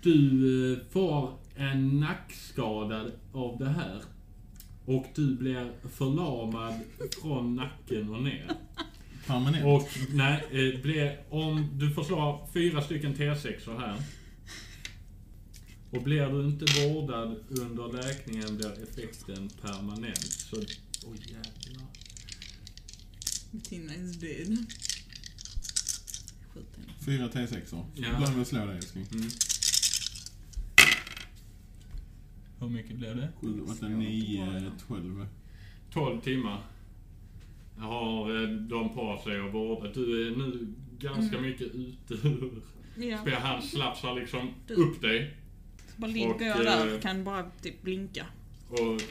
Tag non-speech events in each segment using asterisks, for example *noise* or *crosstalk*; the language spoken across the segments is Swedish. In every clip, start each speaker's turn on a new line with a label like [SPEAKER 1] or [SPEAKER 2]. [SPEAKER 1] Du eh, får en nackskada av det här. Och du blir förlamad från nacken och ner.
[SPEAKER 2] Permanent.
[SPEAKER 1] Och nej, eh, blir, om du får slå fyra stycken T6 här. Och blir du inte vårdad under läkningen blir effekten permanent. Så, oj jävlar.
[SPEAKER 3] Tina is dead. Skjut henne.
[SPEAKER 2] Fyra T6-or.
[SPEAKER 1] Ja.
[SPEAKER 2] Glöm att slå dig älskling.
[SPEAKER 1] Mm.
[SPEAKER 4] Hur mycket blev det?
[SPEAKER 2] 7, 8, 9, 12.
[SPEAKER 1] 12 timmar har eh, de på sig och vårdat. Du är nu ganska mycket ute ur.
[SPEAKER 3] Ja.
[SPEAKER 1] Spelar Han slafsar liksom
[SPEAKER 3] Du.
[SPEAKER 1] upp dig.
[SPEAKER 3] Så bara ligger
[SPEAKER 1] Och,
[SPEAKER 3] jag där
[SPEAKER 1] eh,
[SPEAKER 3] och kan bara typ blinka.
[SPEAKER 1] Och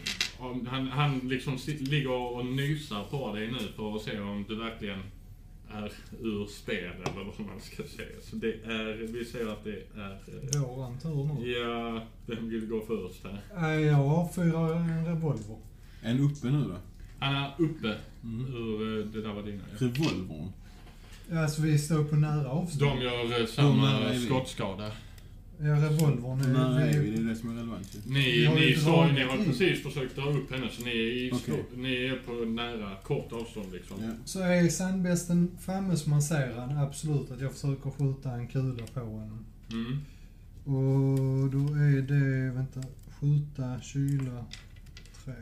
[SPEAKER 1] om- han, han liksom sit- ligger och nysar på dig nu för att se om du verkligen är ur spel eller vad man ska säga. Så det är, vi ser att det är... eh,
[SPEAKER 5] Våran tur nu.
[SPEAKER 1] Ja, vem vill gå först här?
[SPEAKER 5] Nej, Eh, Jag har fyra en revolver.
[SPEAKER 2] En uppe nu då.
[SPEAKER 1] Han är uppe
[SPEAKER 2] Mm.
[SPEAKER 1] ur, eh, det där var dina ja.
[SPEAKER 2] Revolvern.
[SPEAKER 5] Alltså vi står på nära avstånd.
[SPEAKER 1] De gör eh, samma
[SPEAKER 2] är vi?
[SPEAKER 1] skottskada.
[SPEAKER 5] Ja, revolvern är...
[SPEAKER 2] När är vi? Det är det som är relevant ju.
[SPEAKER 1] Ni,
[SPEAKER 5] Vi har ju
[SPEAKER 1] ni,
[SPEAKER 5] inte
[SPEAKER 1] sa,
[SPEAKER 5] varit
[SPEAKER 1] ni har
[SPEAKER 5] i.
[SPEAKER 1] precis försökt dra upp henne så ni är, i,
[SPEAKER 2] Okej.
[SPEAKER 1] ni är på nära, kort avstånd liksom.
[SPEAKER 2] Ja.
[SPEAKER 5] Så är sandbesten framme som man ser han, absolut att jag försöker skjuta en kula på honom.
[SPEAKER 1] Mm.
[SPEAKER 5] Och då är det, vänta, skjuta, kyla, tre.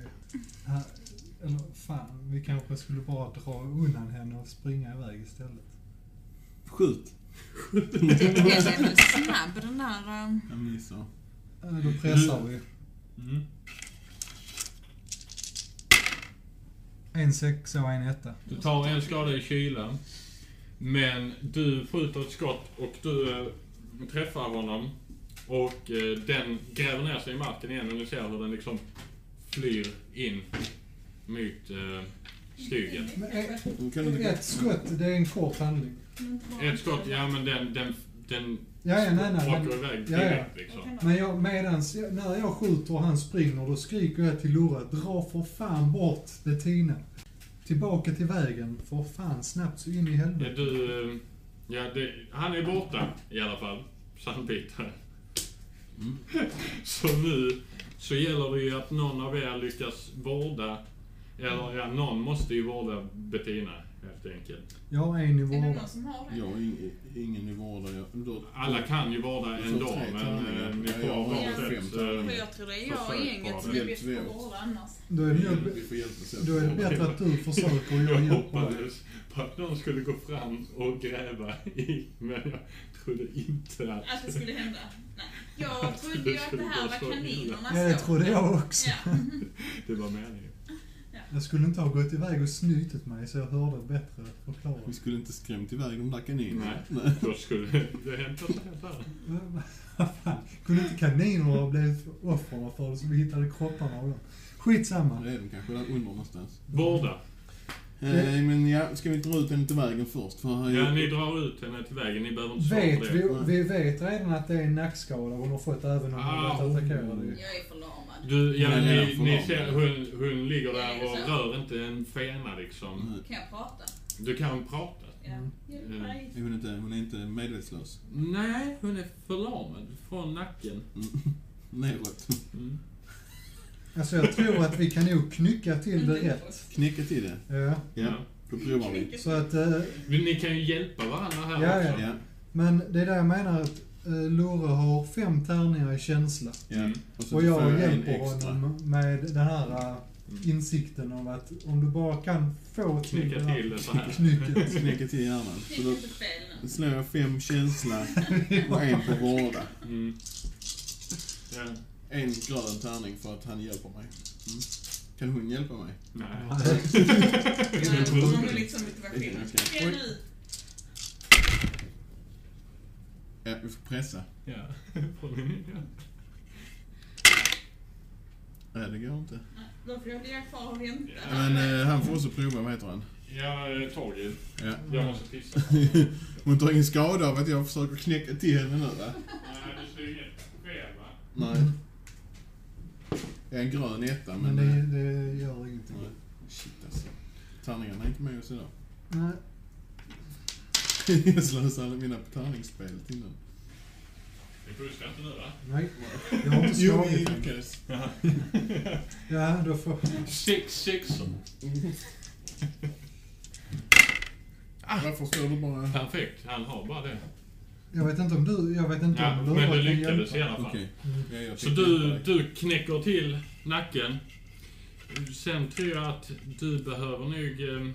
[SPEAKER 5] Här, eller fan, vi kanske skulle bara dra undan henne och springa iväg istället.
[SPEAKER 2] Skjut!
[SPEAKER 3] Den är snabb den där... eh,
[SPEAKER 2] *laughs* Jag missar.
[SPEAKER 5] Eh, Då pressar vi.
[SPEAKER 1] Mm.
[SPEAKER 5] En sexa och en etta.
[SPEAKER 1] Du tar en skada i kylan. Men du skjuter ett skott och du eh, träffar honom. Och eh, den gräver ner sig i marken igen och ni ser hur den liksom flyr in mot eh, skogen.
[SPEAKER 5] Men ett,
[SPEAKER 2] Kan du inte...
[SPEAKER 5] ett skott, det är en kort handling.
[SPEAKER 1] Ett skott, ja men den, den, den
[SPEAKER 5] Ja, ja, nej, nej.
[SPEAKER 1] åker
[SPEAKER 5] Men,
[SPEAKER 1] iväg
[SPEAKER 5] ja, ja.
[SPEAKER 1] direkt liksom.
[SPEAKER 5] men jag, medans, jag- när jag skjuter och han springer, då skriker jag till Lorra, dra för fan bort Bettina. Tillbaka till vägen, för fan snabbt så in i
[SPEAKER 1] Ja,
[SPEAKER 5] helvete.
[SPEAKER 1] du, eh, ja, det, han är borta i alla fall, sandbitaren.
[SPEAKER 2] Mm.
[SPEAKER 1] Så nu så gäller det ju att någon av er lyckas vårda, eller ja, någon måste ju vårda Bettina helt enkelt.
[SPEAKER 5] Jag har en i
[SPEAKER 6] Är det
[SPEAKER 5] vården.
[SPEAKER 6] någon som har det?
[SPEAKER 2] Jag har ing- ingen i vården. Jag... Då...
[SPEAKER 1] Alla kan ju vårda
[SPEAKER 2] Vi
[SPEAKER 1] en
[SPEAKER 2] får
[SPEAKER 1] dag,
[SPEAKER 2] tre
[SPEAKER 1] men
[SPEAKER 2] tärningar.
[SPEAKER 1] eh, ni
[SPEAKER 2] Ja,
[SPEAKER 1] får
[SPEAKER 2] jag har
[SPEAKER 1] var
[SPEAKER 2] fem
[SPEAKER 1] ett,
[SPEAKER 2] tärningar.
[SPEAKER 1] eh,
[SPEAKER 6] Men jag tror det är
[SPEAKER 1] Försök
[SPEAKER 6] jag i
[SPEAKER 1] bara.
[SPEAKER 6] gänget som är bäst på att vårda annars.
[SPEAKER 5] Då är,
[SPEAKER 2] Vi
[SPEAKER 5] det
[SPEAKER 2] hjälper-
[SPEAKER 5] nog,
[SPEAKER 2] Mm. vi får hjälpas åt.
[SPEAKER 5] då är det bättre att du försöker och
[SPEAKER 1] eh, *laughs* Jag
[SPEAKER 2] Mm.
[SPEAKER 5] jag hjälper dig.
[SPEAKER 1] hoppades på att någon skulle gå fram och gräva i, men jag trodde inte att...
[SPEAKER 6] Att det skulle hända. Nej. Jag
[SPEAKER 1] Att
[SPEAKER 6] trodde
[SPEAKER 1] det
[SPEAKER 6] ju att det
[SPEAKER 1] skulle
[SPEAKER 6] här
[SPEAKER 1] gå
[SPEAKER 6] var
[SPEAKER 1] så
[SPEAKER 6] kaninernas
[SPEAKER 5] Ja, det
[SPEAKER 6] år.
[SPEAKER 5] trodde jag också.
[SPEAKER 6] Ja.
[SPEAKER 1] Det var meningen.
[SPEAKER 5] Jag skulle inte ha gått iväg och snytit mig så jag hörde bättre
[SPEAKER 2] Vi
[SPEAKER 5] förklarat.
[SPEAKER 2] skulle inte skrämt iväg de där kaninerna.
[SPEAKER 1] Nej, då skulle det hänt något helt annat.
[SPEAKER 5] Vad fan, Kunde inte kaninerna ha blivit offren för det som vi hittade kropparna av dem? Skitsamma.
[SPEAKER 2] Där är de kanske, där under någonstans.
[SPEAKER 1] Vårda.
[SPEAKER 2] Eh, men ja, ska vi dra ut henne till vägen först? För här
[SPEAKER 1] Ja, ni drar ut henne till vägen. Ni behöver inte svara på
[SPEAKER 5] Vet
[SPEAKER 1] det.
[SPEAKER 5] vi, vi vet redan att det är en nackskada hon har fått även om hon
[SPEAKER 1] Ah,
[SPEAKER 5] blivit attackerad.
[SPEAKER 6] *laughs*
[SPEAKER 5] ju.
[SPEAKER 6] Jag är förlamad.
[SPEAKER 1] Du, ja,
[SPEAKER 2] Nej,
[SPEAKER 1] ni,
[SPEAKER 2] jag får
[SPEAKER 1] ni
[SPEAKER 2] vara
[SPEAKER 1] ser
[SPEAKER 2] med.
[SPEAKER 1] hon, hon ligger där
[SPEAKER 6] Är det
[SPEAKER 1] och
[SPEAKER 6] så?
[SPEAKER 1] rör inte en fena liksom.
[SPEAKER 2] Nej,
[SPEAKER 6] Kan jag prata?
[SPEAKER 1] Du kan prata.
[SPEAKER 6] Ja.
[SPEAKER 5] Mm.
[SPEAKER 6] Hjälp
[SPEAKER 1] Mm.
[SPEAKER 6] mig.
[SPEAKER 2] Hon är inte, hon är inte medvetslös.
[SPEAKER 1] Nej, hon är förlamad från nacken.
[SPEAKER 2] Mm. Neråt.
[SPEAKER 1] Mm.
[SPEAKER 5] Alltså jag tror att vi kan nog knycka till det
[SPEAKER 6] Mm.
[SPEAKER 5] rätt.
[SPEAKER 2] Knäcka till det.
[SPEAKER 5] Ja.
[SPEAKER 2] Ja, då provar vi.
[SPEAKER 5] Så att, eh,
[SPEAKER 1] Men Ni kan ju hjälpa varandra här
[SPEAKER 5] Ja,
[SPEAKER 1] också.
[SPEAKER 5] ja.
[SPEAKER 2] Ja,
[SPEAKER 5] men det är där jag menar att eh, Lore har fem tärningar i känsla.
[SPEAKER 2] ja.
[SPEAKER 1] Mm.
[SPEAKER 2] Och så
[SPEAKER 5] Och
[SPEAKER 2] får
[SPEAKER 5] jag
[SPEAKER 2] jag en
[SPEAKER 5] hjälper
[SPEAKER 2] extra.
[SPEAKER 5] honom med den här eh,
[SPEAKER 1] Mm.
[SPEAKER 5] insikten om att om du bara kan få till det
[SPEAKER 1] Knycka
[SPEAKER 5] här
[SPEAKER 1] till det så här.
[SPEAKER 5] knycket.
[SPEAKER 1] *laughs*
[SPEAKER 2] Knäcka till hjärnan. Så
[SPEAKER 6] Tycker
[SPEAKER 2] då
[SPEAKER 6] inte fel nu.
[SPEAKER 2] slår jag fem känsla och en på vårda.
[SPEAKER 1] Mm. Ja.
[SPEAKER 2] En grön tärning för att han hjälper mig. Mm. Kan hon hjälpa mig?
[SPEAKER 1] Nej.
[SPEAKER 6] Nej, då får man väl liksom motivation.
[SPEAKER 2] Okej.
[SPEAKER 6] Okej nu.
[SPEAKER 2] Ja, vi får pressa.
[SPEAKER 1] Ja. Får ni- ja.
[SPEAKER 2] Nej, det går inte.
[SPEAKER 6] Nej, Då får jag ligga kvar och vänta.
[SPEAKER 2] Men eh, han får också prova, vad heter han?
[SPEAKER 1] Jag är Torgil.
[SPEAKER 2] Ja.
[SPEAKER 1] eh, Jag måste pissa.
[SPEAKER 2] *laughs* Hon tar ingen skada av att jag försöker knäcka till henne nu va?
[SPEAKER 1] Nej, du slår inget fel va?
[SPEAKER 2] Nej. Jag är en grön etta men... eh,
[SPEAKER 5] Men det, det gör ingenting.
[SPEAKER 2] Nej. Shit alltså. Tärningarna är inte med oss idag. *laughs*
[SPEAKER 5] Nej.
[SPEAKER 2] jag slösade alla mina tärningsspel till nu.
[SPEAKER 1] Vi fuskar inte nu va?
[SPEAKER 5] Nej, jag har inte
[SPEAKER 2] Jo, vi
[SPEAKER 5] slagit den.
[SPEAKER 2] lyckades.
[SPEAKER 5] Ja, då får...
[SPEAKER 1] Sex sexor.
[SPEAKER 2] Varför står du bara...
[SPEAKER 1] Perfekt, han har bara det.
[SPEAKER 5] Jag vet inte om du... Jag vet inte
[SPEAKER 1] Ja,
[SPEAKER 5] om
[SPEAKER 1] men du
[SPEAKER 5] kan
[SPEAKER 1] lyckades i
[SPEAKER 5] hjälpa.
[SPEAKER 1] alla fall.
[SPEAKER 2] Okej. Ja, jag
[SPEAKER 1] Så
[SPEAKER 2] tänkte
[SPEAKER 1] du,
[SPEAKER 2] hjälpa dig.
[SPEAKER 1] du knäcker till nacken. Sen tror jag att du behöver nog... eh,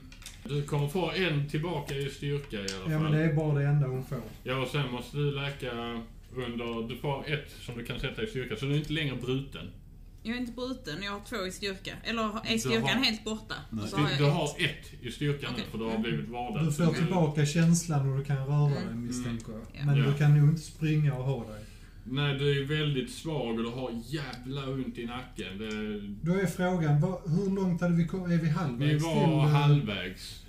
[SPEAKER 1] Du kommer få en tillbaka i styrka i alla
[SPEAKER 5] Ja, men
[SPEAKER 1] fall.
[SPEAKER 5] det är bara det enda hon får.
[SPEAKER 1] Ja, och sen måste du läka under... Du får ett som du kan sätta i styrka, så du är inte längre bruten.
[SPEAKER 6] Jag är inte bruten, jag har två i styrka. Eller är
[SPEAKER 1] Du har-
[SPEAKER 6] styrkan helt borta?
[SPEAKER 2] Nej.
[SPEAKER 6] Så
[SPEAKER 1] Du,
[SPEAKER 6] har jag
[SPEAKER 1] du
[SPEAKER 6] ett.
[SPEAKER 1] har ett i styrka nu,
[SPEAKER 6] Okej. Mm.
[SPEAKER 1] för du har blivit vardad.
[SPEAKER 5] Du
[SPEAKER 1] Så
[SPEAKER 5] får tillbaka känslan och du kan röra dig misstänker
[SPEAKER 6] Ja.
[SPEAKER 5] jag. Men
[SPEAKER 1] Mm. Ja.
[SPEAKER 5] du kan nog inte springa och ha dig.
[SPEAKER 1] Nej, du är väldigt svag och du har jävla ont i nacken. Det,
[SPEAKER 5] Då är frågan, vad, hur långt hade vi kommit? Är vi
[SPEAKER 1] vi
[SPEAKER 5] halvvägs till,
[SPEAKER 1] var
[SPEAKER 5] eh,
[SPEAKER 1] halvvägs.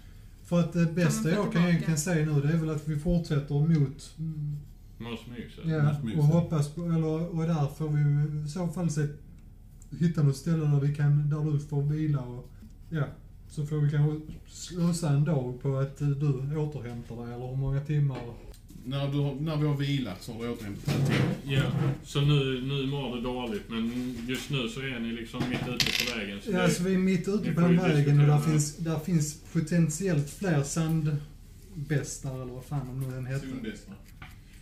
[SPEAKER 5] För att det
[SPEAKER 6] man
[SPEAKER 5] bästa
[SPEAKER 6] ta
[SPEAKER 5] jag kan
[SPEAKER 6] tillbaka?
[SPEAKER 5] egentligen säga nu det är väl att vi fortsätter mot mm,
[SPEAKER 1] Måste man ju säga.
[SPEAKER 5] ja,
[SPEAKER 2] måste man ju
[SPEAKER 5] och
[SPEAKER 2] säga.
[SPEAKER 5] hoppas på, eller, och där får vi ju i så fall se, hitta något ställe där vi kan, där du får vila och ja. Så får vi kanske slösa en dag på att eh, du återhämtar dig eller hur många timmar.
[SPEAKER 2] När, du, har- när vi har vilat så har du återhämtat dig.
[SPEAKER 1] Ja, så nu, nu mår du dåligt men just nu så är ni liksom mitt ute på vägen. Så
[SPEAKER 5] Ja,
[SPEAKER 1] det,
[SPEAKER 5] så vi är mitt ute
[SPEAKER 1] vi får
[SPEAKER 5] på den
[SPEAKER 1] ju
[SPEAKER 5] vägen
[SPEAKER 1] diskutera
[SPEAKER 5] och där
[SPEAKER 1] det.
[SPEAKER 5] finns, där finns potentiellt fler sandbästar eller vad fan om nu den heter.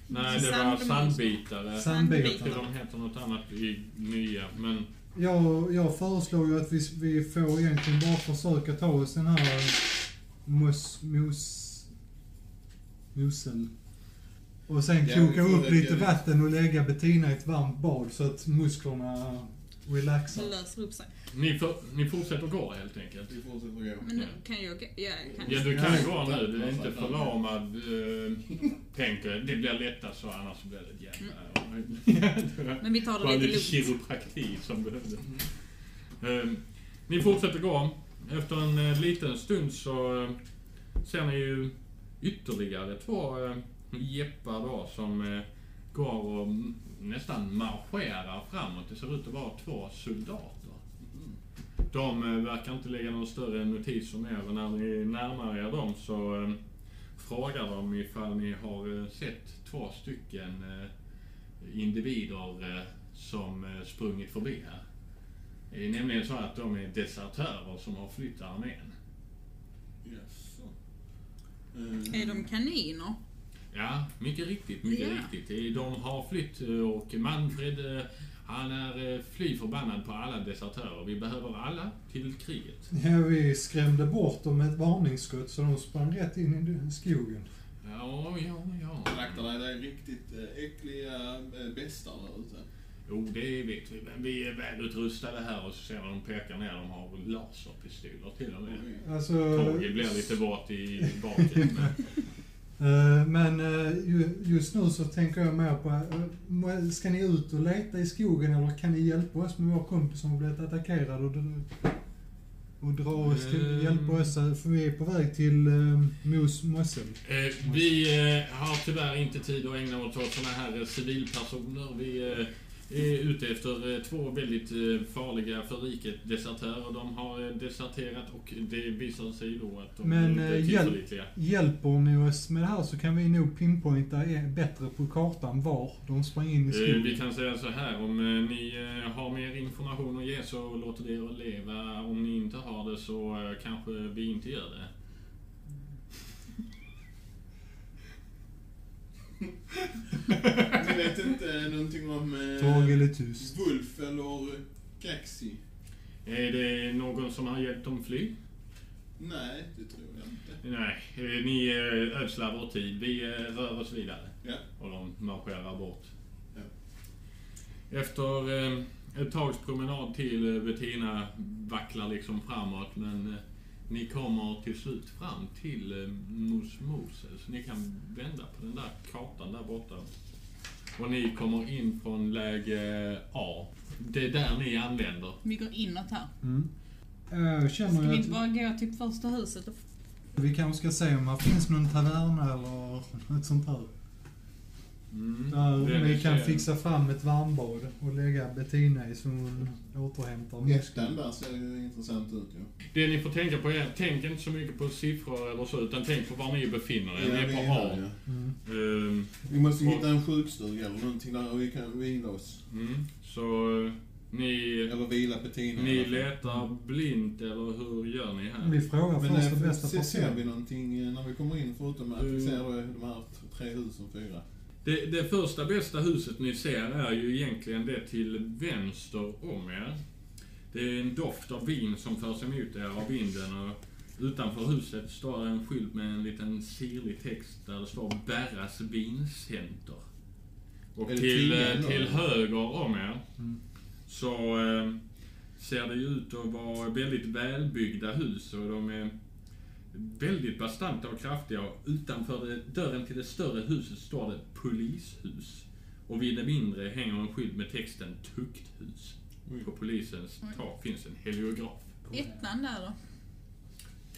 [SPEAKER 1] nej, det var sandbitare. Jag tror
[SPEAKER 5] Sandbitarna.
[SPEAKER 1] de heter något annat i nya, men
[SPEAKER 5] Jag, jag föreslår ju att vi, vi får egentligen bara försöka ta oss den här eh, mos... mos... musen. Och sen
[SPEAKER 2] Ja,
[SPEAKER 5] koka
[SPEAKER 2] vi får
[SPEAKER 5] upp lite
[SPEAKER 2] lägga-
[SPEAKER 5] vatten och lägga Bettina i ett varmt bad så att musklerna relaxar.
[SPEAKER 6] Det löser upp sig.
[SPEAKER 1] ni, för, ni fortsätter gå helt enkelt.
[SPEAKER 2] Vi fortsätter gå.
[SPEAKER 6] Men nu kan jag... Ja, jag kan.
[SPEAKER 1] Ja, du
[SPEAKER 5] Ja.
[SPEAKER 1] kan gå nu. Du är inte förlamad. Eh, tänker jag. Det blir lättare så annars blir det ett *laughs* jävla...
[SPEAKER 6] Men vi tar
[SPEAKER 1] Bara
[SPEAKER 6] det
[SPEAKER 1] lite
[SPEAKER 6] lite lugnt.
[SPEAKER 1] kiropraktik som behövde. Eh, ni fortsätter gå. Efter en eh, liten stund så eh, ser ni ju ytterligare två eh, jeppar då som eh, går och m- nästan marscherar framåt. Det ser ut att vara två soldater. De eh, verkar inte lägga någon större notis om er och när ni närmar er dem så eh, frågar de ifall ni har eh, sett två stycken eh, individer eh, som eh, sprungit förbi här. Det är nämligen så att de är desertörer som har flytt armén.
[SPEAKER 2] Jaså.
[SPEAKER 6] Är de kaniner?
[SPEAKER 1] Ja, mycket riktigt, mycket
[SPEAKER 6] Ja.
[SPEAKER 1] riktigt. Eh, De har flytt eh, och Manfred, eh, han är eh, fly förbannad på alla desertörer. Vi behöver alla till kriget.
[SPEAKER 5] Ja, vi skrämde bort dem med ett varningsskott så de sprang rätt in i skogen.
[SPEAKER 1] Ja, ja, ja.
[SPEAKER 2] Eh, Akta dig, det är riktigt eh, äckliga eh, bestar där ute.
[SPEAKER 1] Jo, det vet vi, men vi är välutrustade här och så ser man de pekar ner. De har laserpistoler till och med.
[SPEAKER 5] Alltså...
[SPEAKER 1] Torgil blir lite bort i baken. men-
[SPEAKER 5] Eh, Men eh, ju- just nu så tänker jag mer på, eh, må- ska ni ut och leta i skogen eller kan ni hjälpa oss med vår kompis som har blivit attackerad och, dr- och dra oss till,
[SPEAKER 1] Eh.
[SPEAKER 5] hjälpa oss, eh, för vi är på väg till eh, Mos Mossel.
[SPEAKER 1] Eh, vi eh, har tyvärr inte tid att ägna oss åt sådana här eh, civilpersoner. Vi eh, är ute efter eh, två väldigt eh, farliga för riket desertörer. De har eh, deserterat och det visar sig då att de
[SPEAKER 5] Men,
[SPEAKER 1] inte är
[SPEAKER 5] eh, hjälp.
[SPEAKER 1] tillförlitliga.
[SPEAKER 5] Hjälper ni oss med det här så kan vi nog pinpointa eh, bättre på kartan var de sprang in i
[SPEAKER 1] Eh,
[SPEAKER 5] skogen.
[SPEAKER 1] Vi kan säga så här, om eh, ni eh, har mer information att ge så låter det er leva. Om ni inte har det så eh, kanske vi inte gör det.
[SPEAKER 2] Du vet inte eh, någonting om
[SPEAKER 5] Tag
[SPEAKER 2] eh,
[SPEAKER 5] eller tyst.
[SPEAKER 2] Wolf eller Kaxi?
[SPEAKER 1] Är det någon som har hjälpt dem fly?
[SPEAKER 2] Nej, det tror jag inte.
[SPEAKER 1] Nej, eh, ni eh, ödslar vår tid. Vi eh, rör oss vidare.
[SPEAKER 2] Ja.
[SPEAKER 1] Och de marscherar bort.
[SPEAKER 2] Ja.
[SPEAKER 1] Efter eh, ett tags promenad till eh, Bettina vacklar liksom framåt men eh, ni kommer till slut fram till eh, Mos Moses. Ni kan vända på den där kartan där borta. Och ni kommer in från läge A. Det är där ni anländer.
[SPEAKER 6] Vi går inåt här.
[SPEAKER 5] Mm. Jag
[SPEAKER 6] Ska
[SPEAKER 5] känner
[SPEAKER 6] vi
[SPEAKER 5] ju
[SPEAKER 6] inte
[SPEAKER 5] att
[SPEAKER 6] bara gå till första huset? Och...
[SPEAKER 5] vi kanske ska se om det finns någon taverna eller något sånt här.
[SPEAKER 1] Mm.
[SPEAKER 5] Där
[SPEAKER 1] Den är
[SPEAKER 5] vi kan
[SPEAKER 1] sen.
[SPEAKER 5] fixa fram ett varmbad och lägga Bettina i som hon återhämtar
[SPEAKER 2] Gästen där ser ju intressant ut ju.
[SPEAKER 1] Det ni får tänka på är, tänk inte så mycket på siffror eller så, utan tänk på var ni befinner er. ni är på
[SPEAKER 2] här,
[SPEAKER 1] hav.
[SPEAKER 2] ja.
[SPEAKER 5] Mm.
[SPEAKER 1] Ehm,
[SPEAKER 2] Vi måste hitta en sjukstuga eller någonting där vi kan vila oss.
[SPEAKER 1] mm. Så eh, ni,
[SPEAKER 2] Eller vila Bettina.
[SPEAKER 1] ni letar blint, eller hur gör ni här?
[SPEAKER 5] Vi frågar
[SPEAKER 2] Men
[SPEAKER 5] först och
[SPEAKER 2] eh,
[SPEAKER 5] bästa
[SPEAKER 2] se, ser vi
[SPEAKER 5] person.
[SPEAKER 2] någonting eh, när vi kommer in förutom att vi
[SPEAKER 1] Mm.
[SPEAKER 2] ser eh, de här t- tre husen, fyra?
[SPEAKER 1] Det, det första bästa huset ni ser är ju egentligen det till vänster om er. Det är en doft av vin som förs emot er av vinden och utanför huset står en skylt med en liten sirlig text där det står Berras vincenter. Och
[SPEAKER 2] Är det
[SPEAKER 1] till,
[SPEAKER 2] tidningen
[SPEAKER 1] eh,
[SPEAKER 2] då?
[SPEAKER 1] till höger om er
[SPEAKER 5] Mm.
[SPEAKER 1] så eh, ser det ju ut att vara väldigt välbyggda hus och de är väldigt bastanta och kraftiga. Och Utanför det, dörren till det större huset står det polishus. Och vid det mindre hänger en skylt med texten tukthus.
[SPEAKER 2] Oj.
[SPEAKER 1] På polisens tak finns en heliograf.
[SPEAKER 6] Ettan där då?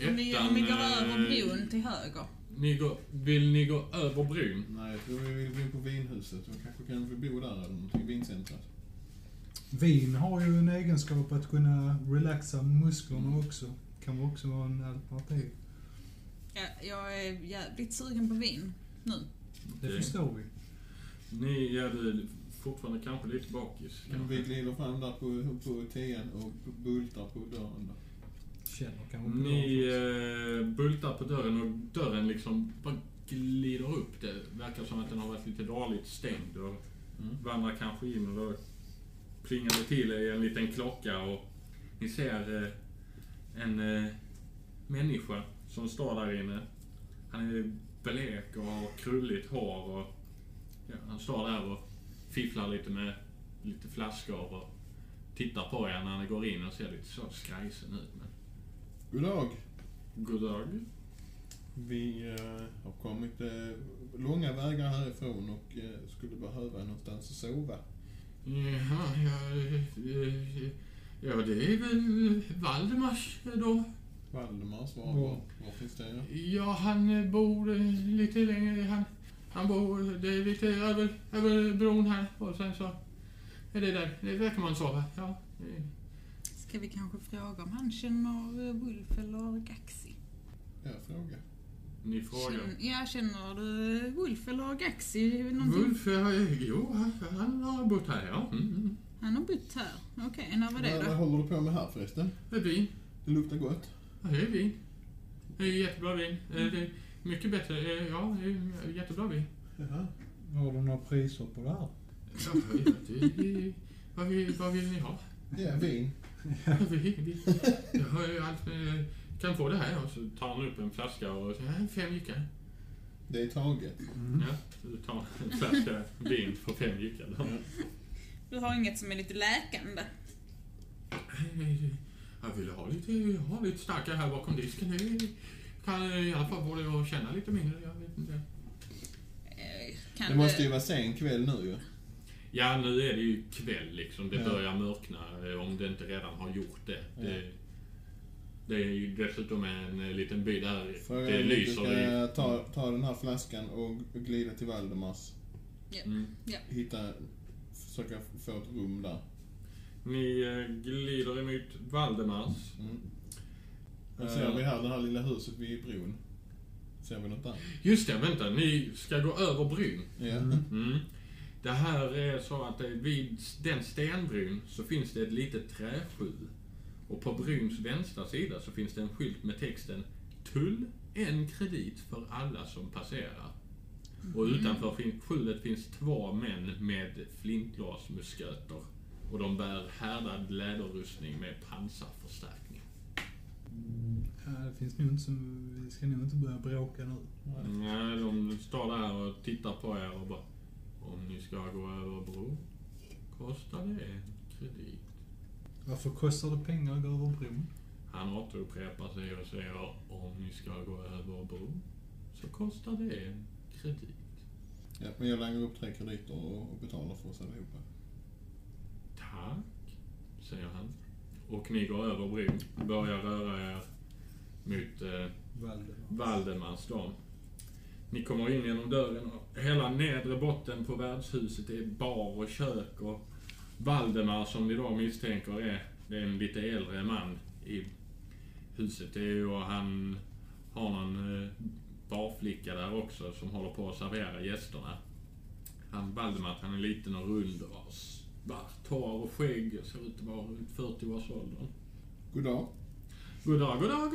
[SPEAKER 6] Om vi, om vi går över
[SPEAKER 1] eh,
[SPEAKER 6] bron till höger.
[SPEAKER 1] Ni går, vill ni gå över bron?
[SPEAKER 2] Nej, jag tror vi vill gå in på vinhuset. Vi kanske kan få bo där eller någonting, vincentrat.
[SPEAKER 5] Vin har ju en egenskap att kunna relaxa musklerna också. Kan vara också vara en alternativ.
[SPEAKER 6] Jag, jag är jävligt sugen på vin nu.
[SPEAKER 5] Det
[SPEAKER 1] Okej.
[SPEAKER 5] förstår vi.
[SPEAKER 1] Eh, Ni är väl fortfarande kanske lite bakis.
[SPEAKER 2] Men vi
[SPEAKER 1] Kanske.
[SPEAKER 2] glider fram där på, på tian och bultar på dörren. då.
[SPEAKER 5] Känner kanske på
[SPEAKER 1] Ni
[SPEAKER 5] dem.
[SPEAKER 1] eh, bultar på dörren och dörren liksom bara glider upp. Det verkar som att den har varit lite dåligt stängd och
[SPEAKER 2] Mm.
[SPEAKER 1] vandrar kanske in och då plingar det till i en liten klocka och ni ser eh, en eh, människa som står där inne. Han är blek och har krulligt hår och ja, han står där och fifflar lite med lite flaskor och tittar på er när ni går in och ser lite så skrajsen ut. Men
[SPEAKER 2] Goddag!
[SPEAKER 1] God dag.
[SPEAKER 2] Vi eh, har kommit eh, långa vägar härifrån och eh, skulle behöva någonstans att sova.
[SPEAKER 1] Jaha, ja, eh, ja, det är väl Valdemars då.
[SPEAKER 2] Valdemar svarar
[SPEAKER 5] Ja.
[SPEAKER 2] bra. Var finns det? Ja?
[SPEAKER 1] Ja, han eh, bor eh, lite längre. Han, han bor, det är lite över, över bron här och sen så är det där. Det verkar man sova. Ja. eh.
[SPEAKER 6] Ska vi kanske fråga om han känner eh, Wolf eller Gaxi?
[SPEAKER 2] Jag frågar.
[SPEAKER 1] Ni frågar.
[SPEAKER 6] Känn- Ja, känner du eh, Wolf eller Gaxi? Någonting?
[SPEAKER 1] Wolf, eh, jo, han- han har bott här, ja. Mm.
[SPEAKER 6] Han har bott här. Okej, när var det
[SPEAKER 2] Vad, vad
[SPEAKER 6] då?
[SPEAKER 2] håller du på med här förresten?
[SPEAKER 1] Det är vin.
[SPEAKER 2] Det luktar gott.
[SPEAKER 1] Ja, det är vin. Det är jättebra vin. Eh, Det är mycket bättre. Eh, Ja, det är jättebra vin.
[SPEAKER 2] Jaha.
[SPEAKER 1] eh,
[SPEAKER 5] Har du några priser på det här?
[SPEAKER 1] Ja, det- det- vad, vill, vad vill ni ha?
[SPEAKER 2] Ja, vin.
[SPEAKER 1] Vi, vi, jag har ju allt med, kan få det här. Och så tar han upp en flaska och säger "Här, fem jyckar.
[SPEAKER 2] Det är taget.
[SPEAKER 1] Ja, så tar han en flaska vin för fem jyckar. då.
[SPEAKER 6] Du har inget som är lite läkande?
[SPEAKER 1] Jag vill ha lite, ha lite starkare här bakom disken. Det kan i alla fall få det att känna lite mindre. Jag vet inte.
[SPEAKER 6] Eh, Kan
[SPEAKER 2] Det måste ju vara sen kväll nu ju.
[SPEAKER 1] Ja, nu är det ju kväll liksom. Det
[SPEAKER 2] Ja.
[SPEAKER 1] börjar mörkna eh, om det inte redan har gjort det. Det, det är ju dessutom en eh, liten by där
[SPEAKER 2] Frågan
[SPEAKER 1] det
[SPEAKER 2] är om du
[SPEAKER 1] lyser i...
[SPEAKER 2] ska ta, ta den här flaskan och glida till Valdemars.
[SPEAKER 1] Mm.
[SPEAKER 2] Hitta, försöka få ett rum där.
[SPEAKER 1] Ni eh, glider emot Valdemars.
[SPEAKER 2] Mm.
[SPEAKER 1] Eh,
[SPEAKER 2] Vad ser vi här, det här lilla huset vid bron? Ser vi något där?
[SPEAKER 1] Just det, vänta. Ni ska gå över bron.
[SPEAKER 2] Ja.
[SPEAKER 1] Mm. Det här är så att det är vid den stenbron så finns det ett litet träskjul. Och på brons vänstra sida så finns det en skylt med texten Tull, en kredit för alla som passerar. Och utanför fin- skjulet finns två män med flintlåsmusköter. Och de bär härdad läderrustning med pansarförstärkning.
[SPEAKER 5] Ja, det finns nog inte så... Vi ska nog inte börja bråka nu.
[SPEAKER 1] Nej, de står där och tittar på er och bara Om ni ska gå över bron kostar det en kredit.
[SPEAKER 5] Varför kostar det pengar att gå över bron?
[SPEAKER 1] Han återupprepar sig och säger om ni ska gå över bron så kostar det en kredit.
[SPEAKER 2] ja. Men jag langar upp tre krediter och, och betalar för oss allihopa.
[SPEAKER 1] Tack, säger han. Och ni går över bron, börjar röra er mot eh,
[SPEAKER 5] Valdemar.
[SPEAKER 1] Valdemars dam. Ni kommer in genom dörren och hela nedre botten på värdshuset är bar och kök och Valdemar som ni då misstänker är, det är en lite äldre man i huset. Det är ju och han har någon eh, barflicka där också som håller på att servera gästerna. Han Valdemar, han är liten och rund och har svart hår och skägg och ser ut att vara runt 40-årsåldern.
[SPEAKER 2] God dag.
[SPEAKER 1] God dag, god dag.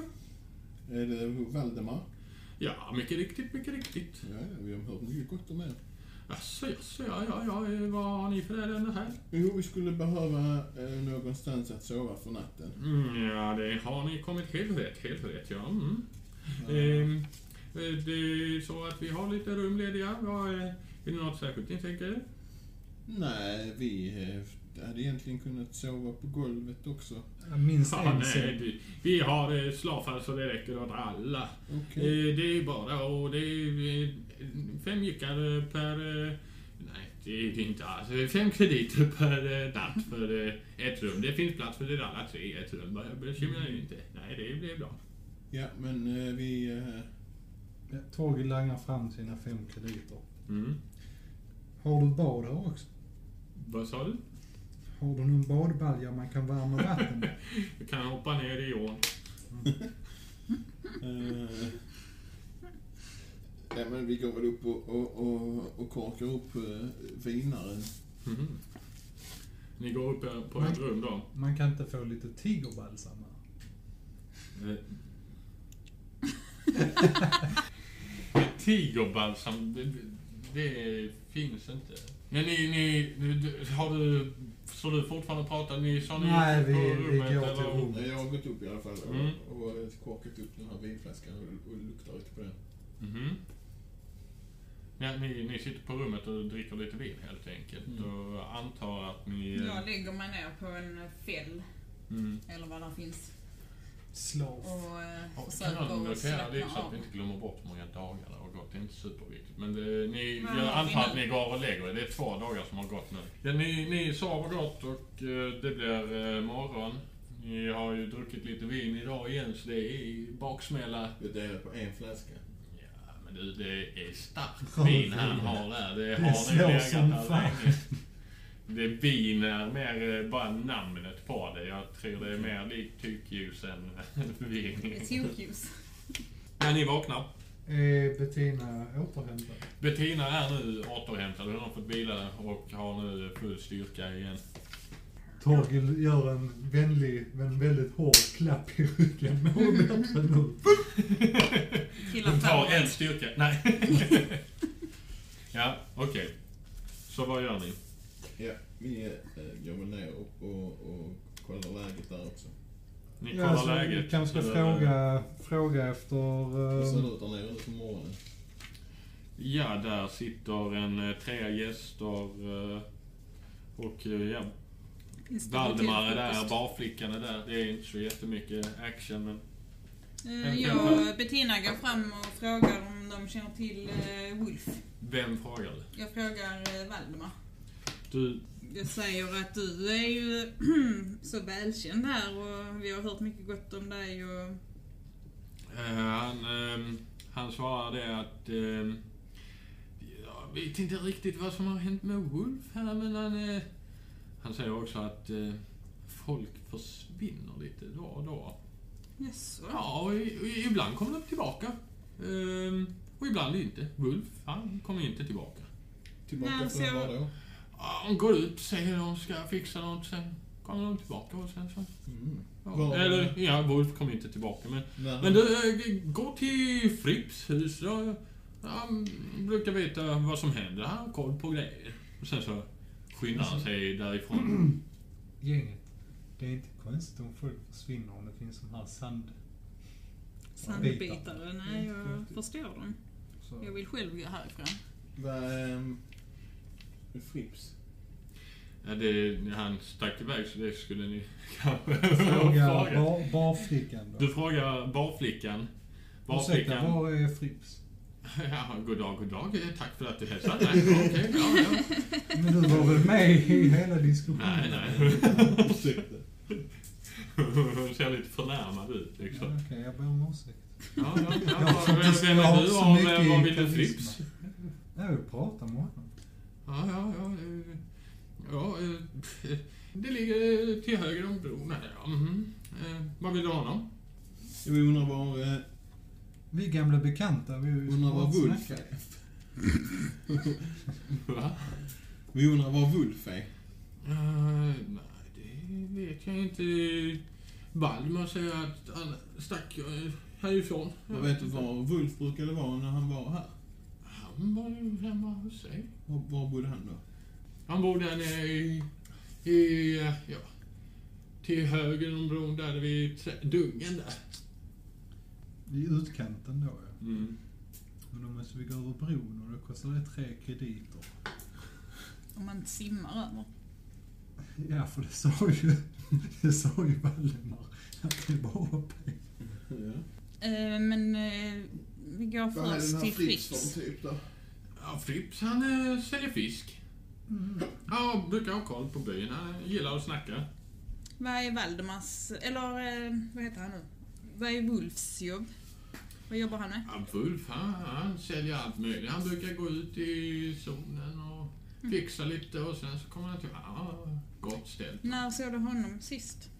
[SPEAKER 2] Är det Valdemar?
[SPEAKER 1] Ja, mycket riktigt, mycket riktigt.
[SPEAKER 2] Ja, ja, vi har hört mycket gott om er.
[SPEAKER 1] Jaså, jaså, ja, ja, ja, eh, vad har ni för ärende här?
[SPEAKER 2] Jo, vi skulle behöva eh, någonstans att sova för natten.
[SPEAKER 1] Mm, ja, det har ni kommit helt rätt, helt rätt, ja. Mm. Ehm, eh, det är så att vi har lite rum lediga. Vad, eh, är det något särskilt ni tänker?
[SPEAKER 2] Nej, vi eh, hade egentligen kunnat sova på golvet också.
[SPEAKER 5] Minst
[SPEAKER 1] Ja,
[SPEAKER 5] en
[SPEAKER 1] nej,
[SPEAKER 5] säng.
[SPEAKER 1] vi, vi har eh, slavfall så det räcker åt alla.
[SPEAKER 2] Okej.
[SPEAKER 1] Eh, Det är bara och det är eh, fem jyckar per... eh, Nej, det är det inte alls. Eh, Fem krediter per eh, natt för eh, ett rum. Det finns plats för er alla tre i ett rum. Bara Bekymra er inte. Nej, det blir bra.
[SPEAKER 2] Ja, men eh, vi... eh,
[SPEAKER 5] Ja, Torgil langar fram sina fem krediter.
[SPEAKER 1] Mm.
[SPEAKER 5] Har du bad här också?
[SPEAKER 1] Vad sa du?
[SPEAKER 5] Har du någon badbalja man kan värma vatten med?
[SPEAKER 1] Du kan hoppa ner i ån.
[SPEAKER 2] eh, Ja, men vi går väl upp och, och, och, och korkar upp eh, vinaren.
[SPEAKER 1] Mhm. Ni går upp eh, på ett rum då.
[SPEAKER 5] Man kan inte få lite tigerbalsam här?
[SPEAKER 1] *laughs* Eh. Tigerbalsam, det, det finns inte. Men ni, ni, du- har du, så du fortfarande pratar, ni sa ni
[SPEAKER 5] Nej,
[SPEAKER 1] gick
[SPEAKER 5] vi-
[SPEAKER 1] på
[SPEAKER 5] vi går
[SPEAKER 1] eller?
[SPEAKER 5] till rummet.
[SPEAKER 2] Nej, Jag har gått upp i alla fall och,
[SPEAKER 1] Mm.
[SPEAKER 2] och eh, korkat upp den här vinflaskan och, och luktar lite på den.
[SPEAKER 1] Mhm. Ja, ni, ni sitter på rummet och dricker lite vin helt enkelt och antar att ni... eh,
[SPEAKER 6] Jag lägger mig ner på en fäll,
[SPEAKER 1] Mm.
[SPEAKER 6] eller vad det finns,
[SPEAKER 5] Slav.
[SPEAKER 6] och eh,
[SPEAKER 1] Ja, Kan
[SPEAKER 6] försöker
[SPEAKER 1] man
[SPEAKER 6] att
[SPEAKER 1] notera det så
[SPEAKER 6] slappna
[SPEAKER 1] att
[SPEAKER 6] av.
[SPEAKER 1] vi inte glömmer bort hur många dagar det har gått. Det är inte superviktigt. Men det, ni,
[SPEAKER 6] Men
[SPEAKER 1] jag
[SPEAKER 6] vad
[SPEAKER 1] antar att
[SPEAKER 6] innan-
[SPEAKER 1] ni går och lägger er. Det är två dagar som har gått nu. Ja, ni, ni sover gott och eh, det blir eh, morgon. Ni har ju druckit lite vin idag igen så det är baksmälla.
[SPEAKER 2] Jag delar på en flaska.
[SPEAKER 1] Ja, men du, det är starkt vin han har där. Det
[SPEAKER 5] Det
[SPEAKER 1] har
[SPEAKER 5] slår
[SPEAKER 1] ni legat
[SPEAKER 5] som
[SPEAKER 1] här
[SPEAKER 5] fan.
[SPEAKER 1] länge. Det vin är mer eh, bara namnet på det. Jag tror det är mer likt tyckljus än *laughs* vin. *laughs*
[SPEAKER 6] Ett tokljus.
[SPEAKER 1] När ni vaknar
[SPEAKER 5] Är Eh, Bettina återhämtad?
[SPEAKER 1] Bettina är nu återhämtad. Hon har fått vila och har nu full styrka igen.
[SPEAKER 5] Torgil gör en vänlig men väldigt hård klapp i ryggen. Mår du bättre nu?
[SPEAKER 6] *laughs* Killar
[SPEAKER 1] Hon tar en
[SPEAKER 6] framåt.
[SPEAKER 1] styrka. Nej. *laughs* ja, okej. Så vad gör ni?
[SPEAKER 2] Ja, vi eh, går väl ner och, och, och kollar läget där också.
[SPEAKER 1] Ni
[SPEAKER 5] Ja,
[SPEAKER 1] kollar
[SPEAKER 5] alltså,
[SPEAKER 1] läget.
[SPEAKER 5] vi kanske ska
[SPEAKER 1] Eller-
[SPEAKER 5] fråga, fråga efter...
[SPEAKER 2] Hur ser det
[SPEAKER 5] ehm,
[SPEAKER 2] ut där nere nu på morgonen?
[SPEAKER 1] Ja, där sitter en eh, tre gäster eh, och eh, ja,
[SPEAKER 6] Just det,
[SPEAKER 1] Valdemar är
[SPEAKER 6] till
[SPEAKER 1] där,
[SPEAKER 6] frukost.
[SPEAKER 1] barflickan är där. Det är inte så jättemycket action men...
[SPEAKER 6] Eh, Jag, Bettina går fram och frågar om de känner till eh, Wolf.
[SPEAKER 1] Vem frågar du?
[SPEAKER 6] Jag frågar eh, Valdemar.
[SPEAKER 1] Du,
[SPEAKER 6] Jag säger att du är ju *clears throat* så välkänd här och vi har hört mycket gott om dig och
[SPEAKER 1] Eh, Han, ehm, han svarar det att... ehm, jag vet inte riktigt vad som har hänt med Wolf här men han... eh, han säger också att eh, folk försvinner lite då och då.
[SPEAKER 6] jaså?
[SPEAKER 1] Ja, och, i- och ibland kommer de tillbaka. Ehm, och ibland inte. Wolf, han kommer inte tillbaka.
[SPEAKER 2] Tillbaka
[SPEAKER 6] Nej,
[SPEAKER 2] från
[SPEAKER 6] så jag-
[SPEAKER 2] var då?
[SPEAKER 1] Ja, De går ut, säger de ska fixa något, sen kommer de tillbaka och sen så...
[SPEAKER 2] Mm.
[SPEAKER 1] Ja.
[SPEAKER 2] Var-
[SPEAKER 1] Eller, ja, Wolf kom inte tillbaka men
[SPEAKER 2] När
[SPEAKER 1] Men du, eh, gå till Fripps hus. Jag, han brukar veta vad som händer. Han har koll på grejer. Och sen så skyndar han sig därifrån.
[SPEAKER 5] Mm. Gänget. Det är inte konstigt om folk försvinner om det finns de här sand...
[SPEAKER 6] Sandbitare? Nej,
[SPEAKER 1] Mm.
[SPEAKER 6] jag förstår dem.
[SPEAKER 5] Så.
[SPEAKER 6] Jag vill själv gå härifrån.
[SPEAKER 2] Vad... ehm, Frips.
[SPEAKER 1] Ja, det, han stack iväg så det skulle ni *laughs* kanske
[SPEAKER 5] Fråga
[SPEAKER 1] fråga.
[SPEAKER 5] bar, barflickan
[SPEAKER 1] Du
[SPEAKER 5] då.
[SPEAKER 1] frågar barflickan.
[SPEAKER 5] Ursäkta,
[SPEAKER 1] Barflickan.
[SPEAKER 5] var är Frips?
[SPEAKER 1] *laughs* Ja, god dag, god dag. Eh, Tack för att du hälsade. Nej, ja, okej, ja, ja.
[SPEAKER 5] Men du var väl med i hela diskussionen?
[SPEAKER 1] nej, nej. *laughs*
[SPEAKER 2] Ursäkta.
[SPEAKER 1] Hon ser lite förnärmad ut
[SPEAKER 5] Ja,
[SPEAKER 1] liksom.
[SPEAKER 5] Okej, jag ber om ursäkt.
[SPEAKER 1] Ja, ja,
[SPEAKER 5] Jag
[SPEAKER 1] ja.
[SPEAKER 5] har
[SPEAKER 1] Vem,
[SPEAKER 5] faktiskt-
[SPEAKER 1] vem
[SPEAKER 5] jag
[SPEAKER 1] är
[SPEAKER 5] har
[SPEAKER 1] du
[SPEAKER 5] så
[SPEAKER 1] av
[SPEAKER 5] mycket
[SPEAKER 1] eh, vad vill du
[SPEAKER 5] karisma.
[SPEAKER 1] flips?
[SPEAKER 5] Jag vill prata med honom.
[SPEAKER 1] Ja, ja, ja. eh, Ja, eh, det ligger eh, till höger om bron här. ja, mhm. Eh, Vad vill du ha honom?
[SPEAKER 2] Jag undrar var, eh,
[SPEAKER 5] Vi är gamla bekanta. Vi har ju
[SPEAKER 2] undrar var
[SPEAKER 5] pratat
[SPEAKER 2] Wulf
[SPEAKER 5] snack.
[SPEAKER 2] är.
[SPEAKER 1] Va?
[SPEAKER 2] Vi undrar var Wulf är.
[SPEAKER 1] Eh, nej, det vet jag inte. Balmer säger att han stack eh, härifrån.
[SPEAKER 2] Jag vet inte var Wulf brukade vara när han var här.
[SPEAKER 1] Han var ju hemma hos sig.
[SPEAKER 2] Var, var bodde han då?
[SPEAKER 1] Han bor där nere i... i eh, ja, till höger om bron där vid trä- dungen där.
[SPEAKER 5] I utkanten då ja.
[SPEAKER 1] Mm.
[SPEAKER 5] Men då måste vi gå över bron och då kostar det tre krediter.
[SPEAKER 6] Om man inte simmar över.
[SPEAKER 5] Ja, för det sa ju, *laughs* det sa ju Valdemar att det var uppe.
[SPEAKER 2] Ja.
[SPEAKER 6] Eh, men eh, vi går först till Frips.
[SPEAKER 2] typ då?
[SPEAKER 1] Ja, Frips han eh, säljer fisk. Ja, brukar ha koll på byn. Han gillar att snacka.
[SPEAKER 6] Vad är Valdemars, eller eh, vad heter han nu? Vad är Wolfs jobb? Vad jobbar han med?
[SPEAKER 1] Ja, Wulf han, han säljer allt möjligt. Han brukar gå ut i zonen och fixa lite och sen så kommer han till... Ja, gott ställt.
[SPEAKER 6] När såg du honom sist?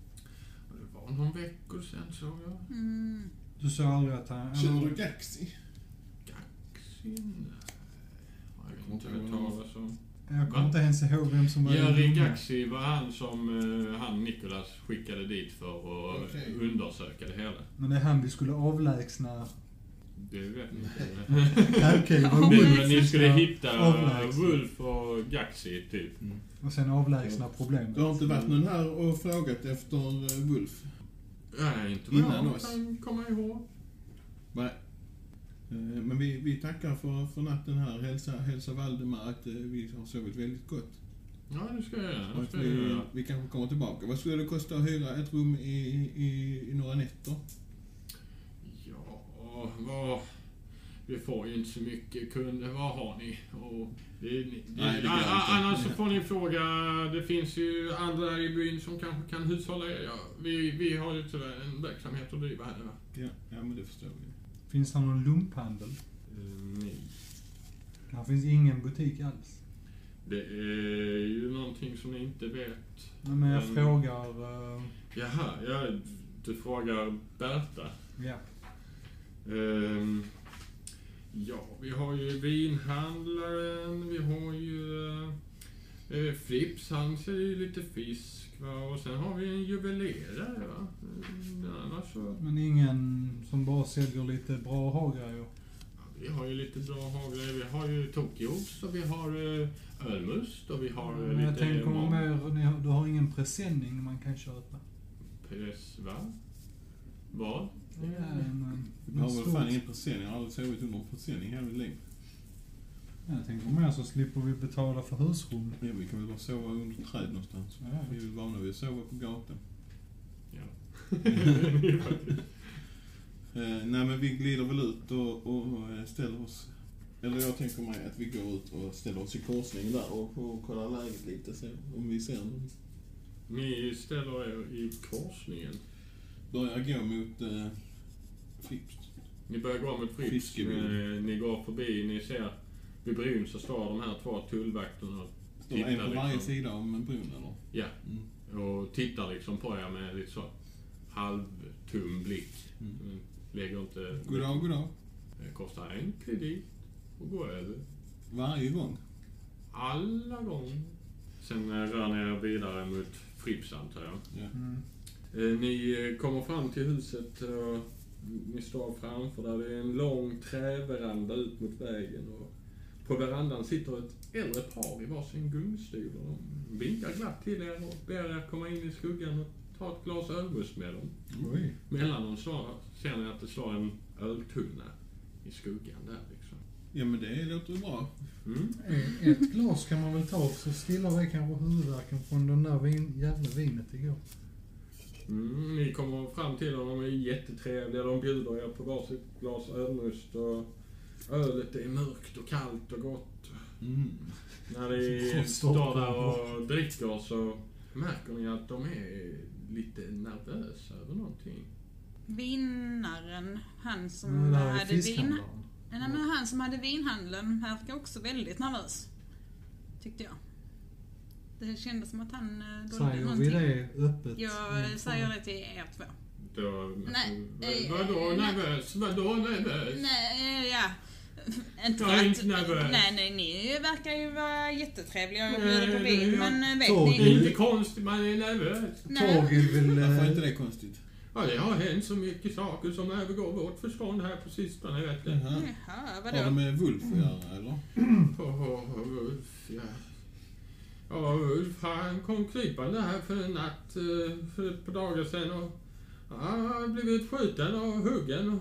[SPEAKER 1] Och Det var någon vecka sen såg jag.
[SPEAKER 6] Mm.
[SPEAKER 5] Du sa aldrig att han...
[SPEAKER 2] Känner du Gaxi?
[SPEAKER 1] Gaxin? Nej, Jag vet inte vad jag talar om.
[SPEAKER 5] Jag kommer inte ens ihåg vem som var
[SPEAKER 1] Jerry
[SPEAKER 5] unga.
[SPEAKER 1] Gaxi var han som eh, han Nicholas skickade dit för att
[SPEAKER 2] Okej.
[SPEAKER 1] undersöka det hela.
[SPEAKER 5] Men det är han vi
[SPEAKER 1] *laughs*
[SPEAKER 5] skulle avlägsna.
[SPEAKER 1] Det vet ni inte.
[SPEAKER 5] Okej, okay,
[SPEAKER 6] Ja,
[SPEAKER 5] var
[SPEAKER 1] Men
[SPEAKER 5] Wulf.
[SPEAKER 1] men ni skulle hitta
[SPEAKER 5] Avlägsna.
[SPEAKER 1] Wolf och Gaxi typ.
[SPEAKER 5] Och sen avlägsna problemet.
[SPEAKER 2] Du har inte varit någon här och frågat efter eh, Wulf?
[SPEAKER 1] Nej, inte vad
[SPEAKER 2] Innan
[SPEAKER 1] jag
[SPEAKER 2] oss.
[SPEAKER 1] kan komma ihåg.
[SPEAKER 2] Nej. Eh, Men vi, vi tackar för, för natten här. Hälsa, hälsa Valdemar att eh, vi har sovit väldigt gott.
[SPEAKER 1] Ja, det ska jag göra.
[SPEAKER 2] Och
[SPEAKER 1] Det
[SPEAKER 2] att
[SPEAKER 1] ska jag
[SPEAKER 2] vi,
[SPEAKER 1] göra.
[SPEAKER 2] vi kanske kommer tillbaka. Vad skulle det kosta att hyra ett rum i, i, i några nätter?
[SPEAKER 1] Ja, vad... Vi får ju inte så mycket kunder. Vad har ni? Och det, ni det,
[SPEAKER 2] Nej, det går
[SPEAKER 1] a- a-
[SPEAKER 2] inte. *laughs*
[SPEAKER 1] annars så får ni fråga. Det finns ju andra i byn som kanske kan hushålla er. Ja, vi, vi har ju tyvärr en verksamhet att driva här. Va?
[SPEAKER 2] Ja, ja men det förstår vi.
[SPEAKER 5] Finns det någon lumphandel?
[SPEAKER 2] Eh,
[SPEAKER 1] nej.
[SPEAKER 5] Här finns ingen butik alls.
[SPEAKER 1] Det är ju någonting som ni inte vet.
[SPEAKER 5] Nej, Men jag
[SPEAKER 1] Mm.
[SPEAKER 5] frågar... eh,
[SPEAKER 1] Jaha, ja, du frågar Berta.
[SPEAKER 5] ja.
[SPEAKER 1] Ehm, ja, vi har ju vinhandlaren, vi har ju eh, Frips, han säljer ju lite fisk va? och sen har vi en juvelerare va. Mm, annars så,
[SPEAKER 5] Men ingen som bara säljer lite bra ha-grejer.
[SPEAKER 1] ja, vi har ju lite bra haglar, vi har ju Tokyost och vi har eh, ölmust och vi har eh,
[SPEAKER 5] Men jag
[SPEAKER 1] lite...
[SPEAKER 5] tänker
[SPEAKER 1] mat-
[SPEAKER 5] om mer, ni har, du har ingen presenning man kan köpa?
[SPEAKER 1] Press, va? Vad?
[SPEAKER 5] Ja, men,
[SPEAKER 2] Vi har väl
[SPEAKER 5] stort-
[SPEAKER 2] fan ingen presenning. Jag har aldrig sovit under en presenning i hela mitt liv.
[SPEAKER 5] Jag tänker mer så slipper vi betala för husrum.
[SPEAKER 2] Ja, vi kan väl bara sova under ett träd någonstans. Vi är väl vana vid att sova på *laughs* gatan.
[SPEAKER 1] Ja. Det är faktiskt-
[SPEAKER 2] Eh, nej men vi glider väl ut och, och eh, ställer oss. Eller jag tänker mig att vi går ut och ställer oss i korsningen där och, och kollar läget lite så om vi ser någon.
[SPEAKER 1] Ni ställer er i korsningen.
[SPEAKER 2] Börjar gå mot eh, Frips.
[SPEAKER 1] Ni börjar gå mot Frips.
[SPEAKER 2] Fiskeby.
[SPEAKER 1] Eh, Ni går förbi, ni ser vid bron så står de här två tullvakterna och
[SPEAKER 2] De är
[SPEAKER 1] Tittar
[SPEAKER 2] på varje
[SPEAKER 1] liksom.
[SPEAKER 2] sida om bron eller?
[SPEAKER 1] Ja.
[SPEAKER 2] Mm.
[SPEAKER 1] och tittar liksom på er med lite så halvtum blick.
[SPEAKER 2] Mm.
[SPEAKER 1] Mm. Lägger inte...
[SPEAKER 2] Goddag, goddag.
[SPEAKER 1] Det kostar en kredit och går över.
[SPEAKER 2] Varje gång.
[SPEAKER 1] Alla gånger. Sen eh, rör ni er vidare mot Frips antar jag.
[SPEAKER 2] Ja.
[SPEAKER 5] Mm.
[SPEAKER 1] Eh, Ni eh, kommer fram till huset och ni står framför där. Det är en lång träveranda ut mot vägen. Och på verandan sitter ett äldre par i varsin gungstol. Och de vinkar glatt till er och ber er komma in i skuggan och ta ett glas ölmust med dem.
[SPEAKER 2] Mm.
[SPEAKER 5] Oj.
[SPEAKER 1] Mellan dem slår, ser ni att det slår en öltunna i skuggan där liksom.
[SPEAKER 2] Ja men det låter ju bra.
[SPEAKER 1] Mm.
[SPEAKER 5] Eh, Ett glas kan man väl ta så stillar det kanske huvudvärken från den där vin, jävla vinet igår.
[SPEAKER 1] Mm, ni kommer fram till dem, de är jättetrevliga. De bjuder er på varsitt glas ölmust. Och ölet är mörkt och kallt och gott.
[SPEAKER 2] Mm.
[SPEAKER 1] När ni står där och dricker så märker ni att de är lite nervösa över någonting.
[SPEAKER 6] Vinnaren, han som
[SPEAKER 5] Men det här Mm, är
[SPEAKER 6] hade Mm, vin...
[SPEAKER 5] fiskhandlaren.
[SPEAKER 6] Nej, men han som hade vinhandeln verkar också väldigt nervös. Tyckte jag. Det kändes som att han eh, dolde
[SPEAKER 5] Säger vi
[SPEAKER 6] någonting.
[SPEAKER 5] det öppet? Mm.
[SPEAKER 6] Jag eh, säger det till er två.
[SPEAKER 1] Då...
[SPEAKER 6] Nej, eh,
[SPEAKER 1] Vadå
[SPEAKER 6] eh,
[SPEAKER 1] nervös? Vadå nervös?
[SPEAKER 6] Nej, eh, ja. Inte
[SPEAKER 1] Jag är inte nervös.
[SPEAKER 6] Nej, nej, ni verkar ju vara jättetrevliga och
[SPEAKER 1] Nej,
[SPEAKER 6] bjuder på
[SPEAKER 1] nej,
[SPEAKER 6] vin,
[SPEAKER 1] jag-
[SPEAKER 6] men eh, vet
[SPEAKER 5] Tåg.
[SPEAKER 1] Det är
[SPEAKER 6] ni?
[SPEAKER 1] inte konstigt, man är nervös.
[SPEAKER 6] Nej.
[SPEAKER 5] Torgil vill...
[SPEAKER 2] Varför är
[SPEAKER 5] eh,
[SPEAKER 2] inte det konstigt?
[SPEAKER 1] Ja, det har hänt så mycket saker som övergår vårt förstånd här på sistone, vet du.
[SPEAKER 2] Jaha.
[SPEAKER 6] Jaha,
[SPEAKER 2] Mm. Har det
[SPEAKER 6] vadå?
[SPEAKER 2] med Wolf att göra eller?
[SPEAKER 1] Åh, åh, Ulf, ja. Ja, Ulf han kom krypande här för en natt eh, för ett par dagar sedan och ja, han har blivit skjuten och huggen. Och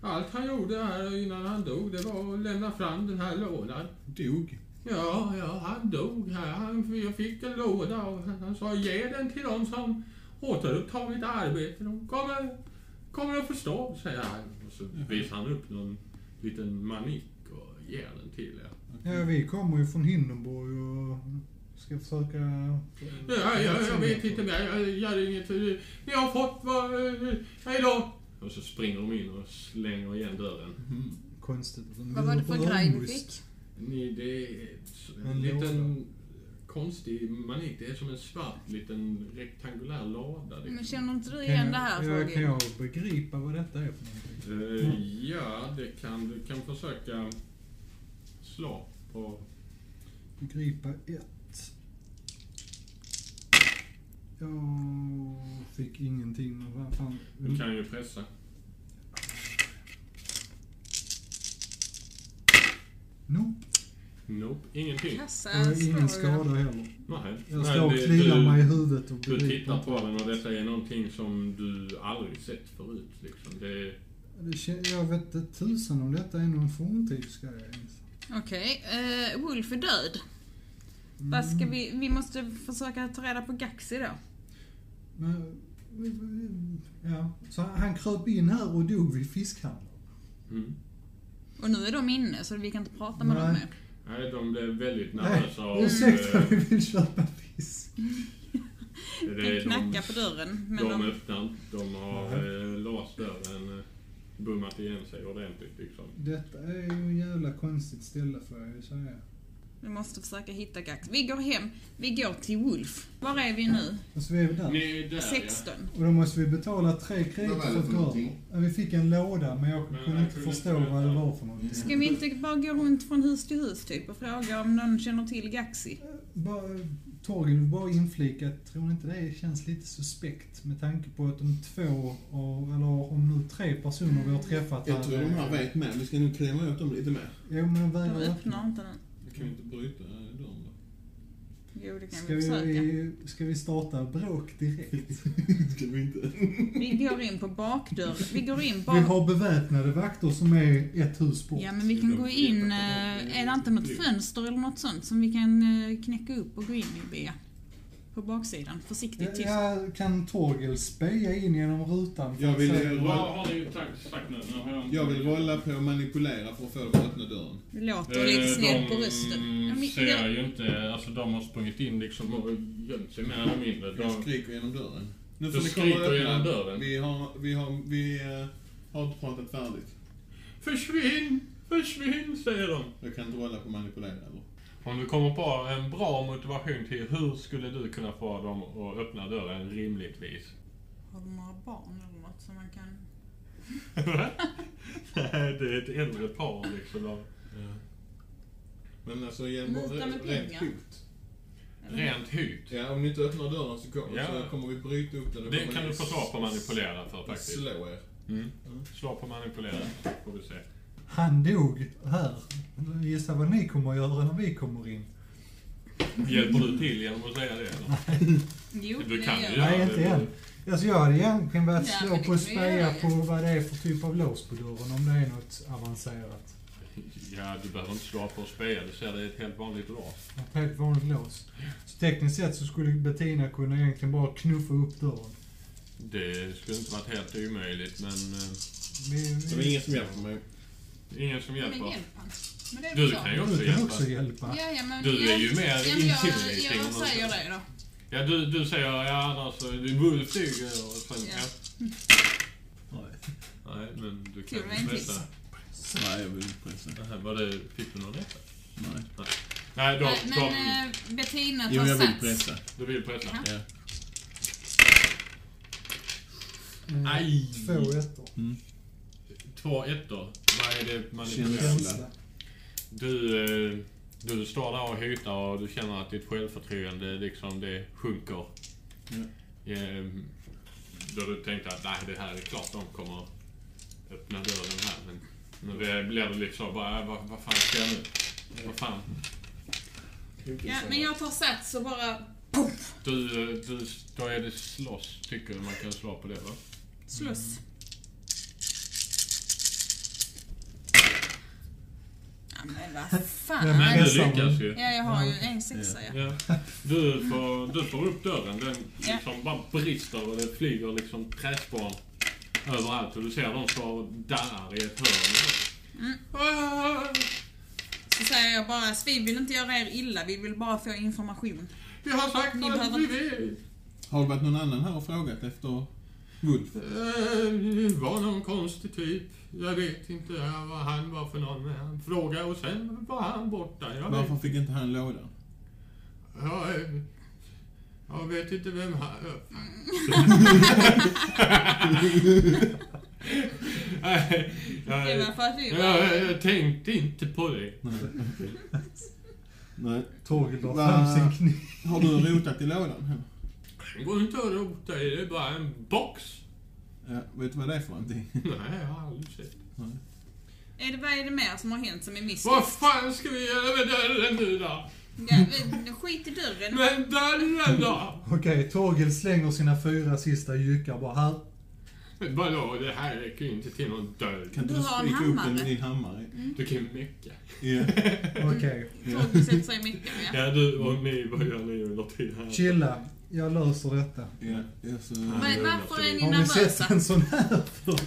[SPEAKER 1] allt han gjorde här innan han dog det var att lämna fram den här lådan.
[SPEAKER 2] Dog?
[SPEAKER 1] Ja, ja, han dog här. Han, jag fick en låda och han, han sa ge den till dem som återupptar mitt arbete. De kommer, kommer att förstå, säger han. Och så visar han upp någon liten manik och ger den till er.
[SPEAKER 5] Ja, vi kommer ju från Hindenburg och ska försöka...
[SPEAKER 1] Ja, jag, jag vet inte mer, jag gör inget. Ni har fått vad... eh, Hej då! Och så springer de in och slänger igen dörren.
[SPEAKER 2] Mm.
[SPEAKER 5] Konstigt.
[SPEAKER 3] Vad var det för grej vi fick?
[SPEAKER 1] Ni, det är
[SPEAKER 5] En
[SPEAKER 1] en liten konstig manik. Det är som en svart liten rektangulär lada. liksom.
[SPEAKER 6] Men känner inte du
[SPEAKER 5] Kan
[SPEAKER 6] igen
[SPEAKER 5] jag,
[SPEAKER 6] det här,
[SPEAKER 5] ja, kan
[SPEAKER 6] Torgil?
[SPEAKER 5] jag begripa vad detta är för någonting?
[SPEAKER 1] Eh, ja, det kan du kan försöka slå på...
[SPEAKER 5] Begripa ett. Jag fick ingenting. men Vad fan.
[SPEAKER 1] Du kan ju pressa.
[SPEAKER 5] Nope.
[SPEAKER 1] Nope, ingenting.
[SPEAKER 6] Kassa
[SPEAKER 5] Jag har ingen
[SPEAKER 6] slår jag.
[SPEAKER 5] skada heller.
[SPEAKER 1] Nej.
[SPEAKER 5] Jag
[SPEAKER 1] Nej,
[SPEAKER 5] står och
[SPEAKER 1] det-
[SPEAKER 5] kliar
[SPEAKER 1] du-
[SPEAKER 5] mig i huvudet och
[SPEAKER 1] Du
[SPEAKER 5] begriper.
[SPEAKER 1] tittar på
[SPEAKER 5] inte.
[SPEAKER 1] den och detta är någonting som du aldrig sett förut. Liksom. Det är
[SPEAKER 5] Det kän- Jag vet inte tusan om detta är någon forntidsgrej. alltså. ens.
[SPEAKER 6] Okej, eh, Wolf är död. Vad ska vi... Vi måste försöka ta reda på Gaxi då.
[SPEAKER 5] Men, ja. Så han, han kröp in här och dog vid fiskhandeln.
[SPEAKER 1] Mm.
[SPEAKER 6] Och nu är de inne, så vi kan inte prata med
[SPEAKER 5] Nej.
[SPEAKER 6] dem mer.
[SPEAKER 1] Nej, de blev väldigt
[SPEAKER 5] Nej,
[SPEAKER 1] nervösa *laughs* och...
[SPEAKER 5] ursäkta,
[SPEAKER 1] eh,
[SPEAKER 5] vi vill köpa fisk.
[SPEAKER 1] det,
[SPEAKER 6] De
[SPEAKER 1] är de,
[SPEAKER 6] knackar på dörren, men
[SPEAKER 1] de,
[SPEAKER 6] de...
[SPEAKER 1] öppnar inte. De har
[SPEAKER 5] Nej.
[SPEAKER 1] eh, låst dörren, eh, bummat igen sig ordentligt liksom.
[SPEAKER 5] Detta är ju ett jävla konstigt ställe får jag ju säga.
[SPEAKER 6] Vi måste försöka hitta Gax. Vi går hem. Vi går till Wolf. Var är vi nu?
[SPEAKER 5] Och så är vi där.
[SPEAKER 1] Ni är där
[SPEAKER 6] 16.
[SPEAKER 5] Och då måste vi betala tre krediter
[SPEAKER 2] Vad var det
[SPEAKER 5] för att
[SPEAKER 2] för
[SPEAKER 5] gå över.
[SPEAKER 2] någonting?
[SPEAKER 5] Ja, Vi fick en låda men jag
[SPEAKER 1] Men
[SPEAKER 5] kunde
[SPEAKER 1] jag
[SPEAKER 5] inte
[SPEAKER 1] kunde
[SPEAKER 5] förstå
[SPEAKER 1] inte
[SPEAKER 5] vad det
[SPEAKER 1] veta.
[SPEAKER 5] var för någonting.
[SPEAKER 6] Ska vi inte bara gå runt från hus till hus typ och fråga om någon känner till Gaxi?
[SPEAKER 5] Bara, Torgil, bara inflika, tror ni inte det känns lite suspekt med tanke på att de två, av, eller om nu tre personer vi har träffat
[SPEAKER 2] Jag tror de här
[SPEAKER 5] eh,
[SPEAKER 2] vet med. Vi ska nog klämma åt dem lite mer.
[SPEAKER 5] Jo men de
[SPEAKER 6] De
[SPEAKER 5] vägrar
[SPEAKER 6] öppnar
[SPEAKER 5] öppna.
[SPEAKER 6] inte den.
[SPEAKER 2] Kan vi inte bryta dem då?
[SPEAKER 6] Jo, det kan
[SPEAKER 5] Ska
[SPEAKER 6] vi försöka.
[SPEAKER 5] vi, ska vi starta bråk direkt?
[SPEAKER 2] Ska vi inte?
[SPEAKER 6] Vi går in på bakdörren. Vi går in
[SPEAKER 5] Vi
[SPEAKER 6] bak...
[SPEAKER 5] har beväpnade vakter som är ett hus bort.
[SPEAKER 6] Ja, men vi kan gå in... eh, Är det inte något fönster eller något sånt som vi kan eh, knäcka upp och gå in i, Bea? På baksidan. Försiktigt, tyst.
[SPEAKER 5] Jag kan Torgel speja in genom rutan? för
[SPEAKER 2] Jag
[SPEAKER 5] att
[SPEAKER 2] vill
[SPEAKER 5] se-
[SPEAKER 2] ju-
[SPEAKER 1] Vad har ni sagt, sagt nu? nu har inte-
[SPEAKER 2] Jag vill rolla på manipulera för att få dem att öppna dörren.
[SPEAKER 6] Det låter lite
[SPEAKER 1] Eh,
[SPEAKER 6] snett på
[SPEAKER 1] de
[SPEAKER 6] rösten. Ja, men-
[SPEAKER 1] ser ju inte, alltså de har sprungit in liksom och gömt sig mer eller mindre.
[SPEAKER 2] Jag
[SPEAKER 1] De,
[SPEAKER 2] skriker genom dörren. Nu
[SPEAKER 1] Du
[SPEAKER 2] och
[SPEAKER 1] skriker
[SPEAKER 2] öppna.
[SPEAKER 1] genom dörren?
[SPEAKER 2] Vi har, vi har, vi eh, har inte pratat färdigt.
[SPEAKER 1] försvinn! Försvinn, säger de.
[SPEAKER 2] Jag kan inte rolla på manipulera eller?
[SPEAKER 1] Om du kommer på en bra motivation till hur skulle du kunna få dem att öppna dörren rimligtvis?
[SPEAKER 6] Har de några barn eller något som man kan...
[SPEAKER 1] *laughs* Nej, det är ett äldre par liksom. De-
[SPEAKER 2] Men alltså genom
[SPEAKER 6] Muta med
[SPEAKER 2] rent
[SPEAKER 6] pengar.
[SPEAKER 2] hot.
[SPEAKER 1] Rent hut.
[SPEAKER 2] Ja, om ni inte öppnar dörren så kommer,
[SPEAKER 1] Ja.
[SPEAKER 2] så kommer vi bryta upp den. och
[SPEAKER 1] Det
[SPEAKER 2] kommer
[SPEAKER 1] kan
[SPEAKER 2] ni
[SPEAKER 1] du få svar på manipulera för faktiskt.
[SPEAKER 2] Slå er.
[SPEAKER 1] Mm. Slå på manipulera, får du se.
[SPEAKER 5] Han dog här. Gissa vad ni kommer att göra när vi kommer in?
[SPEAKER 1] Hjälper du till genom att säga det eller?
[SPEAKER 6] Jo,
[SPEAKER 1] Du kan ju
[SPEAKER 6] gör
[SPEAKER 1] göra
[SPEAKER 5] Nej,
[SPEAKER 1] det.
[SPEAKER 5] inte än. Alltså jag hade egentligen börjat
[SPEAKER 6] Ja,
[SPEAKER 5] slå
[SPEAKER 6] men det
[SPEAKER 5] på och
[SPEAKER 6] kan vi göra
[SPEAKER 5] speja
[SPEAKER 6] ju.
[SPEAKER 5] på vad det är för typ av lås på dörren, om det är något avancerat.
[SPEAKER 1] *laughs* Ja, du behöver inte slå på att speja. Du ser, det är ett helt vanligt lås.
[SPEAKER 5] Ett helt vanligt lås. Så tekniskt sett så skulle Bettina kunna egentligen bara knuffa upp dörren.
[SPEAKER 1] Det skulle inte varit helt omöjligt, men eh,
[SPEAKER 5] Vi,
[SPEAKER 2] Så det är ingen som hjälper mig.
[SPEAKER 1] ingen som
[SPEAKER 6] Men hjälp
[SPEAKER 1] hjälper.
[SPEAKER 6] han. Men det är
[SPEAKER 1] Du
[SPEAKER 6] klart.
[SPEAKER 1] kan ju också
[SPEAKER 5] du kan
[SPEAKER 1] hjälpa.
[SPEAKER 5] också hjälpa.
[SPEAKER 6] Ja, ja, men,
[SPEAKER 1] Du är ju mer
[SPEAKER 6] ja, men jag,
[SPEAKER 1] intimidating om
[SPEAKER 6] jag
[SPEAKER 1] man
[SPEAKER 6] säger
[SPEAKER 1] säger.
[SPEAKER 6] det då.
[SPEAKER 1] eh, Ja, du, du säger ja, annars är du Wolf duger och sen
[SPEAKER 6] Ja.
[SPEAKER 1] ja. Nej, men du kan
[SPEAKER 6] Tur det är en
[SPEAKER 1] pressa.
[SPEAKER 6] till.
[SPEAKER 2] Nej, jag vill inte pressa.
[SPEAKER 1] Aha, Var det, fick du någon rätta?
[SPEAKER 2] Nej.
[SPEAKER 1] Nej, de,
[SPEAKER 6] Nej,
[SPEAKER 1] de,
[SPEAKER 6] men eh, Bettina tar
[SPEAKER 2] Jo, jag vill
[SPEAKER 6] sats.
[SPEAKER 2] pressa.
[SPEAKER 1] du vill pressa.
[SPEAKER 6] Ja.
[SPEAKER 2] Ja.
[SPEAKER 5] Eh,
[SPEAKER 1] Aj.
[SPEAKER 5] Två ettor.
[SPEAKER 1] Två ettor. Vad är det manipulerar?
[SPEAKER 2] Känsla.
[SPEAKER 5] Känsla.
[SPEAKER 1] Du, eh, du står där och hytar och du känner att ditt självförtroende liksom det sjunker.
[SPEAKER 2] Ja.
[SPEAKER 1] Ehm, Då du tänkte att nej, det här är klart de kommer öppna dörren här. Men nu blir det liksom bara, "Äh, vad, vad fan ska jag nu? Vad fan?
[SPEAKER 6] Ja, men jag tar sats och bara puff,
[SPEAKER 1] Du, eh, du, då är det slåss, tycker du man kan slå på det va?
[SPEAKER 6] slåss. Ja, men vad
[SPEAKER 5] Ja,
[SPEAKER 1] Men
[SPEAKER 6] fan.
[SPEAKER 1] du
[SPEAKER 5] Ensam.
[SPEAKER 1] lyckas ju.
[SPEAKER 6] Ja, jag har ju en sexa ja.
[SPEAKER 1] Ja. Du, får, du får upp dörren, den
[SPEAKER 6] Ja.
[SPEAKER 1] liksom bara brister och det flyger liksom träspån överallt och du ser dem står och darrar i ett hörn.
[SPEAKER 6] Mm.
[SPEAKER 1] Ah,
[SPEAKER 6] Så säger jag bara, "Så vi vill inte göra er illa, vi vill bara få information.
[SPEAKER 1] Vi har sagt
[SPEAKER 6] Ni
[SPEAKER 1] att
[SPEAKER 6] behöver-
[SPEAKER 1] vi vill.
[SPEAKER 2] Har det varit någon annan här och frågat efter Wolf?
[SPEAKER 1] Eh, var någon konstig typ. Jag vet inte vad han var för någon. men Han frågade och sen var han borta. Jag vet,
[SPEAKER 2] Varför fick inte han *laughs* lådan?
[SPEAKER 1] jag, eh, jag vet inte vem han... eh, Nej, jag-
[SPEAKER 6] Det var för att vi var...
[SPEAKER 1] Eh, Jag, jag tänkte inte på det.
[SPEAKER 2] Nej, okej. Nej.
[SPEAKER 5] Torgil drar
[SPEAKER 2] Va?
[SPEAKER 5] fram sin kniv.
[SPEAKER 2] Har du rotat i lådan? eller?
[SPEAKER 1] Det går inte att rota i, det är bara en box.
[SPEAKER 2] Ja, vet du vad det är för någonting?
[SPEAKER 1] Nej, jag har aldrig sett.
[SPEAKER 6] Är det, vad är det mer som har hänt som är
[SPEAKER 1] Vad
[SPEAKER 6] mystiskt?
[SPEAKER 1] fan ska vi göra med dörren nu då?
[SPEAKER 6] Ja, vi- skit i dörren.
[SPEAKER 1] Med dörren då?
[SPEAKER 5] Okej, Torgil slänger sina fyra sista jyckar bara här.
[SPEAKER 1] Men vadå, det här räcker ju inte till någon dörr.
[SPEAKER 2] Kan inte
[SPEAKER 6] Du
[SPEAKER 2] du
[SPEAKER 6] har en
[SPEAKER 2] spika upp den med
[SPEAKER 6] hammare.
[SPEAKER 2] din hammare?
[SPEAKER 1] Du kan ju mecka.
[SPEAKER 2] Ja.
[SPEAKER 5] Okej.
[SPEAKER 6] Mm. Torgny sätter sig i micken ja.
[SPEAKER 1] Ja, du och ni, vad gör ni under tiden här?
[SPEAKER 5] Chilla, jag löser detta.
[SPEAKER 2] Ja, ja, så...
[SPEAKER 6] Vad- Varför är ni
[SPEAKER 5] Har ni
[SPEAKER 6] nervösa?
[SPEAKER 5] sett en sån här förr?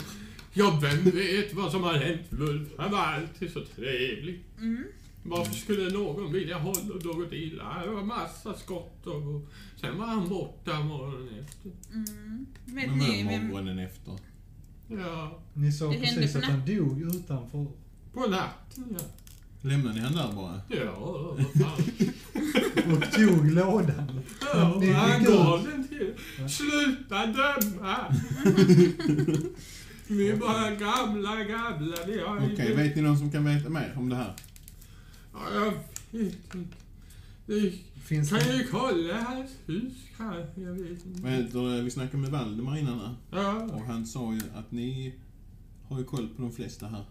[SPEAKER 1] Ja, vem vet vad som har hänt Ulf? Han var alltid så trevlig.
[SPEAKER 6] Mm.
[SPEAKER 1] Varför skulle någon vilja hålla något illa? Det var massa skott och... och Sen var han borta morgonen efter.
[SPEAKER 6] Mm. Vet
[SPEAKER 2] Men
[SPEAKER 6] ni
[SPEAKER 2] vad är
[SPEAKER 6] vem...
[SPEAKER 2] morgonen efter?
[SPEAKER 1] Ja,
[SPEAKER 5] Ni såg
[SPEAKER 6] Det hände
[SPEAKER 5] precis
[SPEAKER 6] på
[SPEAKER 5] att han dog utanför.
[SPEAKER 1] på natten ja.
[SPEAKER 2] Lämnar ni han där bara?
[SPEAKER 1] Ja, vad fan.
[SPEAKER 5] Och tog lådan.
[SPEAKER 1] Ja,
[SPEAKER 5] Det är
[SPEAKER 1] han
[SPEAKER 5] gud.
[SPEAKER 1] gav den till. Sluta
[SPEAKER 5] *laughs*
[SPEAKER 1] döma! Vi är bara gamla, gamla. Vi har
[SPEAKER 2] Okej,
[SPEAKER 1] inte...
[SPEAKER 2] vet ni någon som kan veta mer om det här?
[SPEAKER 1] Ja, jag vet inte. Ni
[SPEAKER 5] Finns
[SPEAKER 1] kan
[SPEAKER 5] det...
[SPEAKER 1] ju kolla hans hus kanske. Jag vet inte.
[SPEAKER 2] Vad heter det? Vi snackade med Valdemar innan här.
[SPEAKER 1] Ja,
[SPEAKER 2] Och han sa ju att ni har ju koll på de flesta här.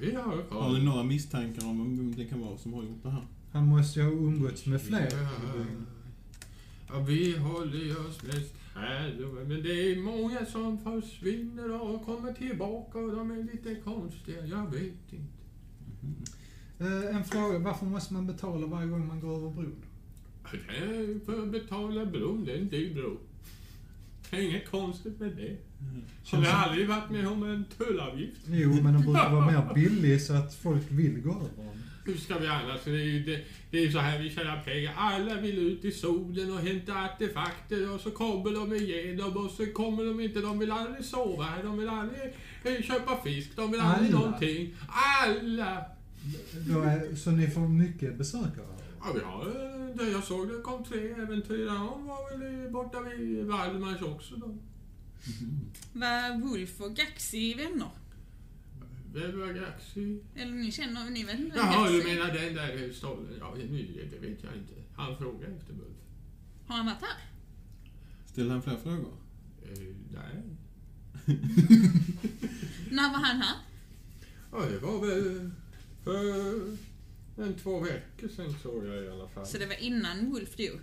[SPEAKER 1] vi har
[SPEAKER 2] Har ni
[SPEAKER 1] koll.
[SPEAKER 2] några misstankar om vem det kan vara som har gjort det här?
[SPEAKER 5] Han måste ju ha umgåtts med
[SPEAKER 1] Ja,
[SPEAKER 5] fler.
[SPEAKER 1] Ja, vi håller oss mest här. Men det är många som försvinner och kommer tillbaka och de är lite konstiga. Jag vet inte.
[SPEAKER 5] Eh, en fråga, varför måste man betala varje gång man går över bron?
[SPEAKER 1] Det är för att betala bron, det är en dyr bro. Det är inget konstigt med det. Så det har aldrig varit med om en tullavgift.
[SPEAKER 5] Jo, men den brukar vara mer billig så att folk vill gå över den.
[SPEAKER 1] Hur ska vi annars? Det är ju det, det är ju så här vi tjänar pengar. Alla vill ut i solen och hämta artefakter och så kommer de igenom och så kommer de inte. De vill aldrig sova här, de vill aldrig eh, köpa fisk, de vill aldrig
[SPEAKER 5] Alla?
[SPEAKER 1] någonting. Alla!
[SPEAKER 5] Då är, eh, så ni får mycket besökare?
[SPEAKER 1] Ja, vi har, eh, det jag såg det kom tre äventyrare. De var väl eh, borta vid Valdemars också då.
[SPEAKER 6] Var Wolf och Gaxi vänner?
[SPEAKER 1] Det var Gaxi.
[SPEAKER 6] Eller ni känner, ni vet inte vem *laughs*
[SPEAKER 1] Jaha,
[SPEAKER 6] Gaxi
[SPEAKER 1] du
[SPEAKER 6] är?
[SPEAKER 1] menar den där stollen? Ja, nu- det vet jag inte. Han frågade efter Bulf.
[SPEAKER 6] Har han varit här?
[SPEAKER 2] Ställde han fler frågor? *laughs*
[SPEAKER 1] Eh, nej.
[SPEAKER 6] När var han här?
[SPEAKER 1] Ja, det var väl för en två veckor sedan såg jag i alla fall.
[SPEAKER 6] Så det var innan Wolf dog?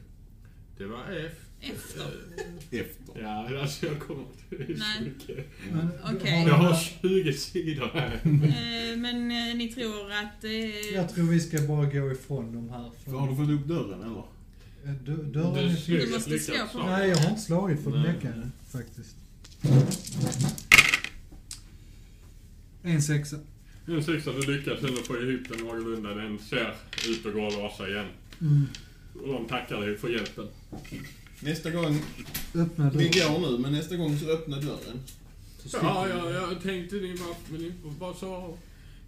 [SPEAKER 1] Det var efter.
[SPEAKER 6] Efter?
[SPEAKER 2] Efter.
[SPEAKER 1] Ja, *laughs* alltså jag kommer inte ihåg så
[SPEAKER 6] Nej.
[SPEAKER 1] mycket.
[SPEAKER 5] Men,
[SPEAKER 6] Okej.
[SPEAKER 1] Jag har 20 sidor här.
[SPEAKER 6] Eh, Men eh, ni tror att... eh,
[SPEAKER 5] Jag tror vi ska bara gå ifrån de här.
[SPEAKER 2] För har du
[SPEAKER 5] För,
[SPEAKER 2] fått upp dörren eller?
[SPEAKER 5] Eh, dö- dörren är
[SPEAKER 1] Du
[SPEAKER 5] fri.
[SPEAKER 1] slog
[SPEAKER 6] måste
[SPEAKER 1] ett
[SPEAKER 6] slå
[SPEAKER 1] lyckat
[SPEAKER 6] på den.
[SPEAKER 1] slag.
[SPEAKER 5] Nej, jag har inte slagit för
[SPEAKER 1] Nej.
[SPEAKER 5] bläckan faktiskt. En sexa.
[SPEAKER 1] Den sexa, du lyckas ändå få ihop den någorlunda. Den ser ut att gå och rasa igen.
[SPEAKER 5] Mm.
[SPEAKER 1] Och de tackar dig för hjälpen.
[SPEAKER 2] Nästa gång,
[SPEAKER 5] Öppna
[SPEAKER 2] vi
[SPEAKER 5] dörren.
[SPEAKER 2] går nu, men nästa gång så öppna dörren.
[SPEAKER 5] Så sticker
[SPEAKER 1] Ja,
[SPEAKER 5] vi.
[SPEAKER 1] ja, jag tänkte ni var, men ni var så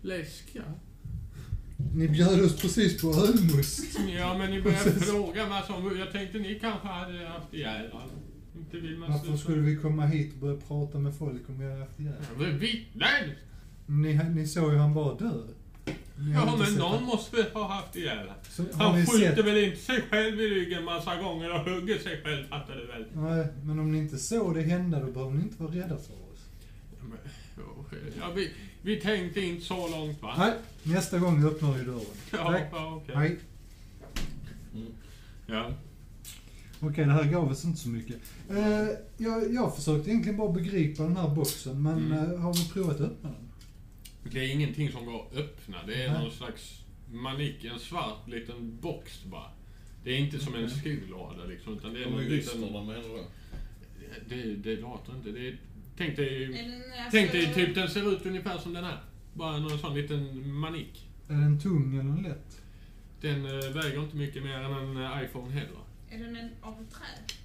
[SPEAKER 1] läskiga.
[SPEAKER 5] Ni bjöd oss precis på ölmust.
[SPEAKER 1] Ja, men ni började fråga vad som... Jag tänkte ni kanske hade haft ihjäl honom. Inte vill man
[SPEAKER 5] Varför skulle vi komma hit och börja prata med folk om vi hade haft ihjäl?
[SPEAKER 1] Ja, men Vittnen!
[SPEAKER 5] Ni, ni såg ju han bara dö. Ni har
[SPEAKER 1] Ja,
[SPEAKER 5] inte
[SPEAKER 1] men
[SPEAKER 5] sett
[SPEAKER 1] någon
[SPEAKER 5] han-
[SPEAKER 1] måste ha haft ihjäl honom.
[SPEAKER 5] Så, har ni
[SPEAKER 1] Han skjuter
[SPEAKER 5] sett-
[SPEAKER 1] väl inte sig själv i ryggen massa gånger och hugger sig själv, fattar du väl?
[SPEAKER 5] Nej, men om ni inte såg det hända då behöver ni inte vara rädda för oss.
[SPEAKER 1] Ja, vi, vi tänkte inte så långt va?
[SPEAKER 5] Nej, nästa gång öppnar vi dörren.
[SPEAKER 1] Ja,
[SPEAKER 5] Tack.
[SPEAKER 1] ja, okej.
[SPEAKER 5] Hej.
[SPEAKER 1] Ja.
[SPEAKER 5] Okej, det här gav oss inte så mycket. Eh, jag, jag försökte egentligen bara begripa den här boxen, men
[SPEAKER 1] Mm.
[SPEAKER 5] eh, har vi provat att öppna den?
[SPEAKER 1] Det är ingenting som går att öppna. Det är
[SPEAKER 5] Nej.
[SPEAKER 1] någon slags manik, en svart liten box bara. Det är inte som en skolåda liksom, utan det är
[SPEAKER 2] De
[SPEAKER 1] någon
[SPEAKER 2] är
[SPEAKER 1] liten...
[SPEAKER 2] ryssarna menar du?
[SPEAKER 1] Det, det låter inte. Det är, tänk dig,
[SPEAKER 3] Eller, alltså,
[SPEAKER 1] tänk dig typ, den ser ut ungefär som den här. Bara någon sån liten manik.
[SPEAKER 5] Är den tung eller lätt?
[SPEAKER 1] Den eh, väger inte mycket mer än en eh, iPhone heller.
[SPEAKER 3] Är den en av trä?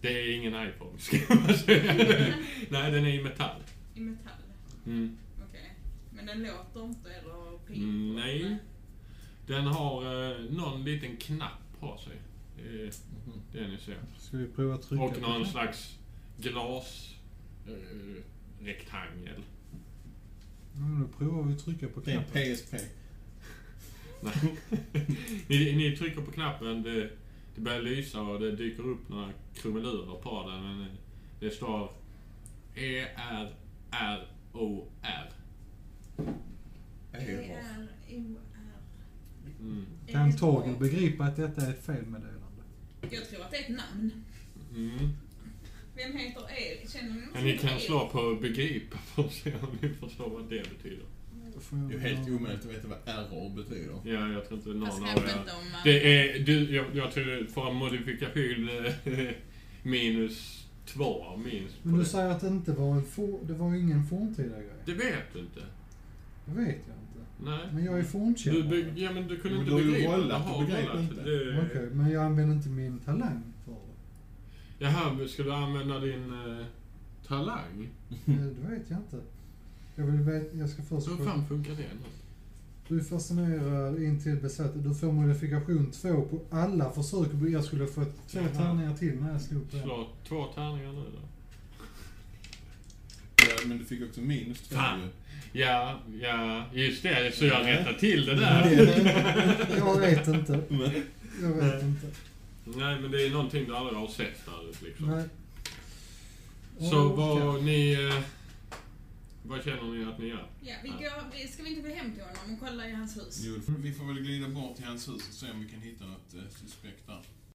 [SPEAKER 1] Det är ingen iPhone, ska man
[SPEAKER 3] *laughs*
[SPEAKER 1] säga. Nej, den är i metall.
[SPEAKER 3] I metall?
[SPEAKER 1] Mm.
[SPEAKER 3] Okej. Men den låter inte eller piper?
[SPEAKER 1] Mm, nej. Den har eh, någon liten knapp på sig. Eh, det ni ser.
[SPEAKER 5] Ska vi prova att trycka
[SPEAKER 1] Och någon
[SPEAKER 5] den?
[SPEAKER 1] slags glas eh,
[SPEAKER 5] *laughs*
[SPEAKER 1] rektangel.
[SPEAKER 5] Ja, men Mm, då provar vi att trycka på
[SPEAKER 2] Det är en
[SPEAKER 5] knappen.
[SPEAKER 2] PSP.
[SPEAKER 1] Nej. *laughs* ni, ni trycker på knappen, det, det börjar lysa och det dyker upp några krumelurer på den. Men eh, det står E E-R-R-O-R.
[SPEAKER 2] Error.
[SPEAKER 3] E E-R-O-R.
[SPEAKER 1] Mm.
[SPEAKER 5] Kan Torgel begripa att detta är ett felmeddelande?
[SPEAKER 3] Jag tror att det är ett namn.
[SPEAKER 1] Mm.
[SPEAKER 3] Vem heter E er? Känner ni någon
[SPEAKER 1] Men
[SPEAKER 3] som
[SPEAKER 1] ni kan
[SPEAKER 3] heter
[SPEAKER 1] slå på begripa *laughs* för att se om ni förstår vad det betyder.
[SPEAKER 5] Får jag-
[SPEAKER 2] Det är ju helt omöjligt att veta vad error betyder.
[SPEAKER 1] Ja, jag tror inte
[SPEAKER 3] Er?
[SPEAKER 1] någon
[SPEAKER 3] Fast
[SPEAKER 1] av
[SPEAKER 3] kanske
[SPEAKER 1] er...
[SPEAKER 3] inte om man...
[SPEAKER 1] Det är, du, jag, jag tror för en modifikation eh, *laughs* minus två minst på
[SPEAKER 5] Men du
[SPEAKER 1] det.
[SPEAKER 5] säger att det inte var en for, det var ingen forntida grej.
[SPEAKER 1] Det vet du inte.
[SPEAKER 5] Det vet jag inte.
[SPEAKER 1] Nej.
[SPEAKER 5] Men jag är
[SPEAKER 1] Du,
[SPEAKER 5] fornkännare.
[SPEAKER 1] be, ja, men du kunde
[SPEAKER 2] Men
[SPEAKER 1] inte
[SPEAKER 2] du har ju
[SPEAKER 1] begripa.
[SPEAKER 2] rollat,
[SPEAKER 1] Jaha,
[SPEAKER 2] du begrep
[SPEAKER 1] rollat.
[SPEAKER 2] inte.
[SPEAKER 1] Det-
[SPEAKER 5] Okej, men jag använder inte min talang
[SPEAKER 2] *laughs*
[SPEAKER 5] för det.
[SPEAKER 1] Jaha, men ska du använda din eh, talang?
[SPEAKER 5] Eh, Det vet jag inte. Jag vill veta, jag ska först...
[SPEAKER 1] Hur fan funkar det? nu?
[SPEAKER 5] Du är fascinerad intill besatt. Du får modifikation 2 på alla försök. Jag skulle få två
[SPEAKER 1] Jaha.
[SPEAKER 5] tärningar till när jag slog på en.
[SPEAKER 1] Slå två tärningar nu då.
[SPEAKER 2] Ja, men du fick också minus två
[SPEAKER 1] Fan.
[SPEAKER 2] ju.
[SPEAKER 1] Ja, ja, just det. Så jag rättar till det där.
[SPEAKER 5] Nej, Jag vet inte. Jag vet inte.
[SPEAKER 1] Nej, men det är någonting du aldrig har sett förut liksom.
[SPEAKER 5] Nej.
[SPEAKER 1] Så
[SPEAKER 5] Okej.
[SPEAKER 1] vad ni... Eh, vad känner ni att ni gör?
[SPEAKER 3] Ja, vi går, vi, ska vi inte gå hem till honom och kolla i hans hus?
[SPEAKER 2] Jo, Vi får väl glida bort till hans hus och se om vi kan hitta något eh, suspekt där.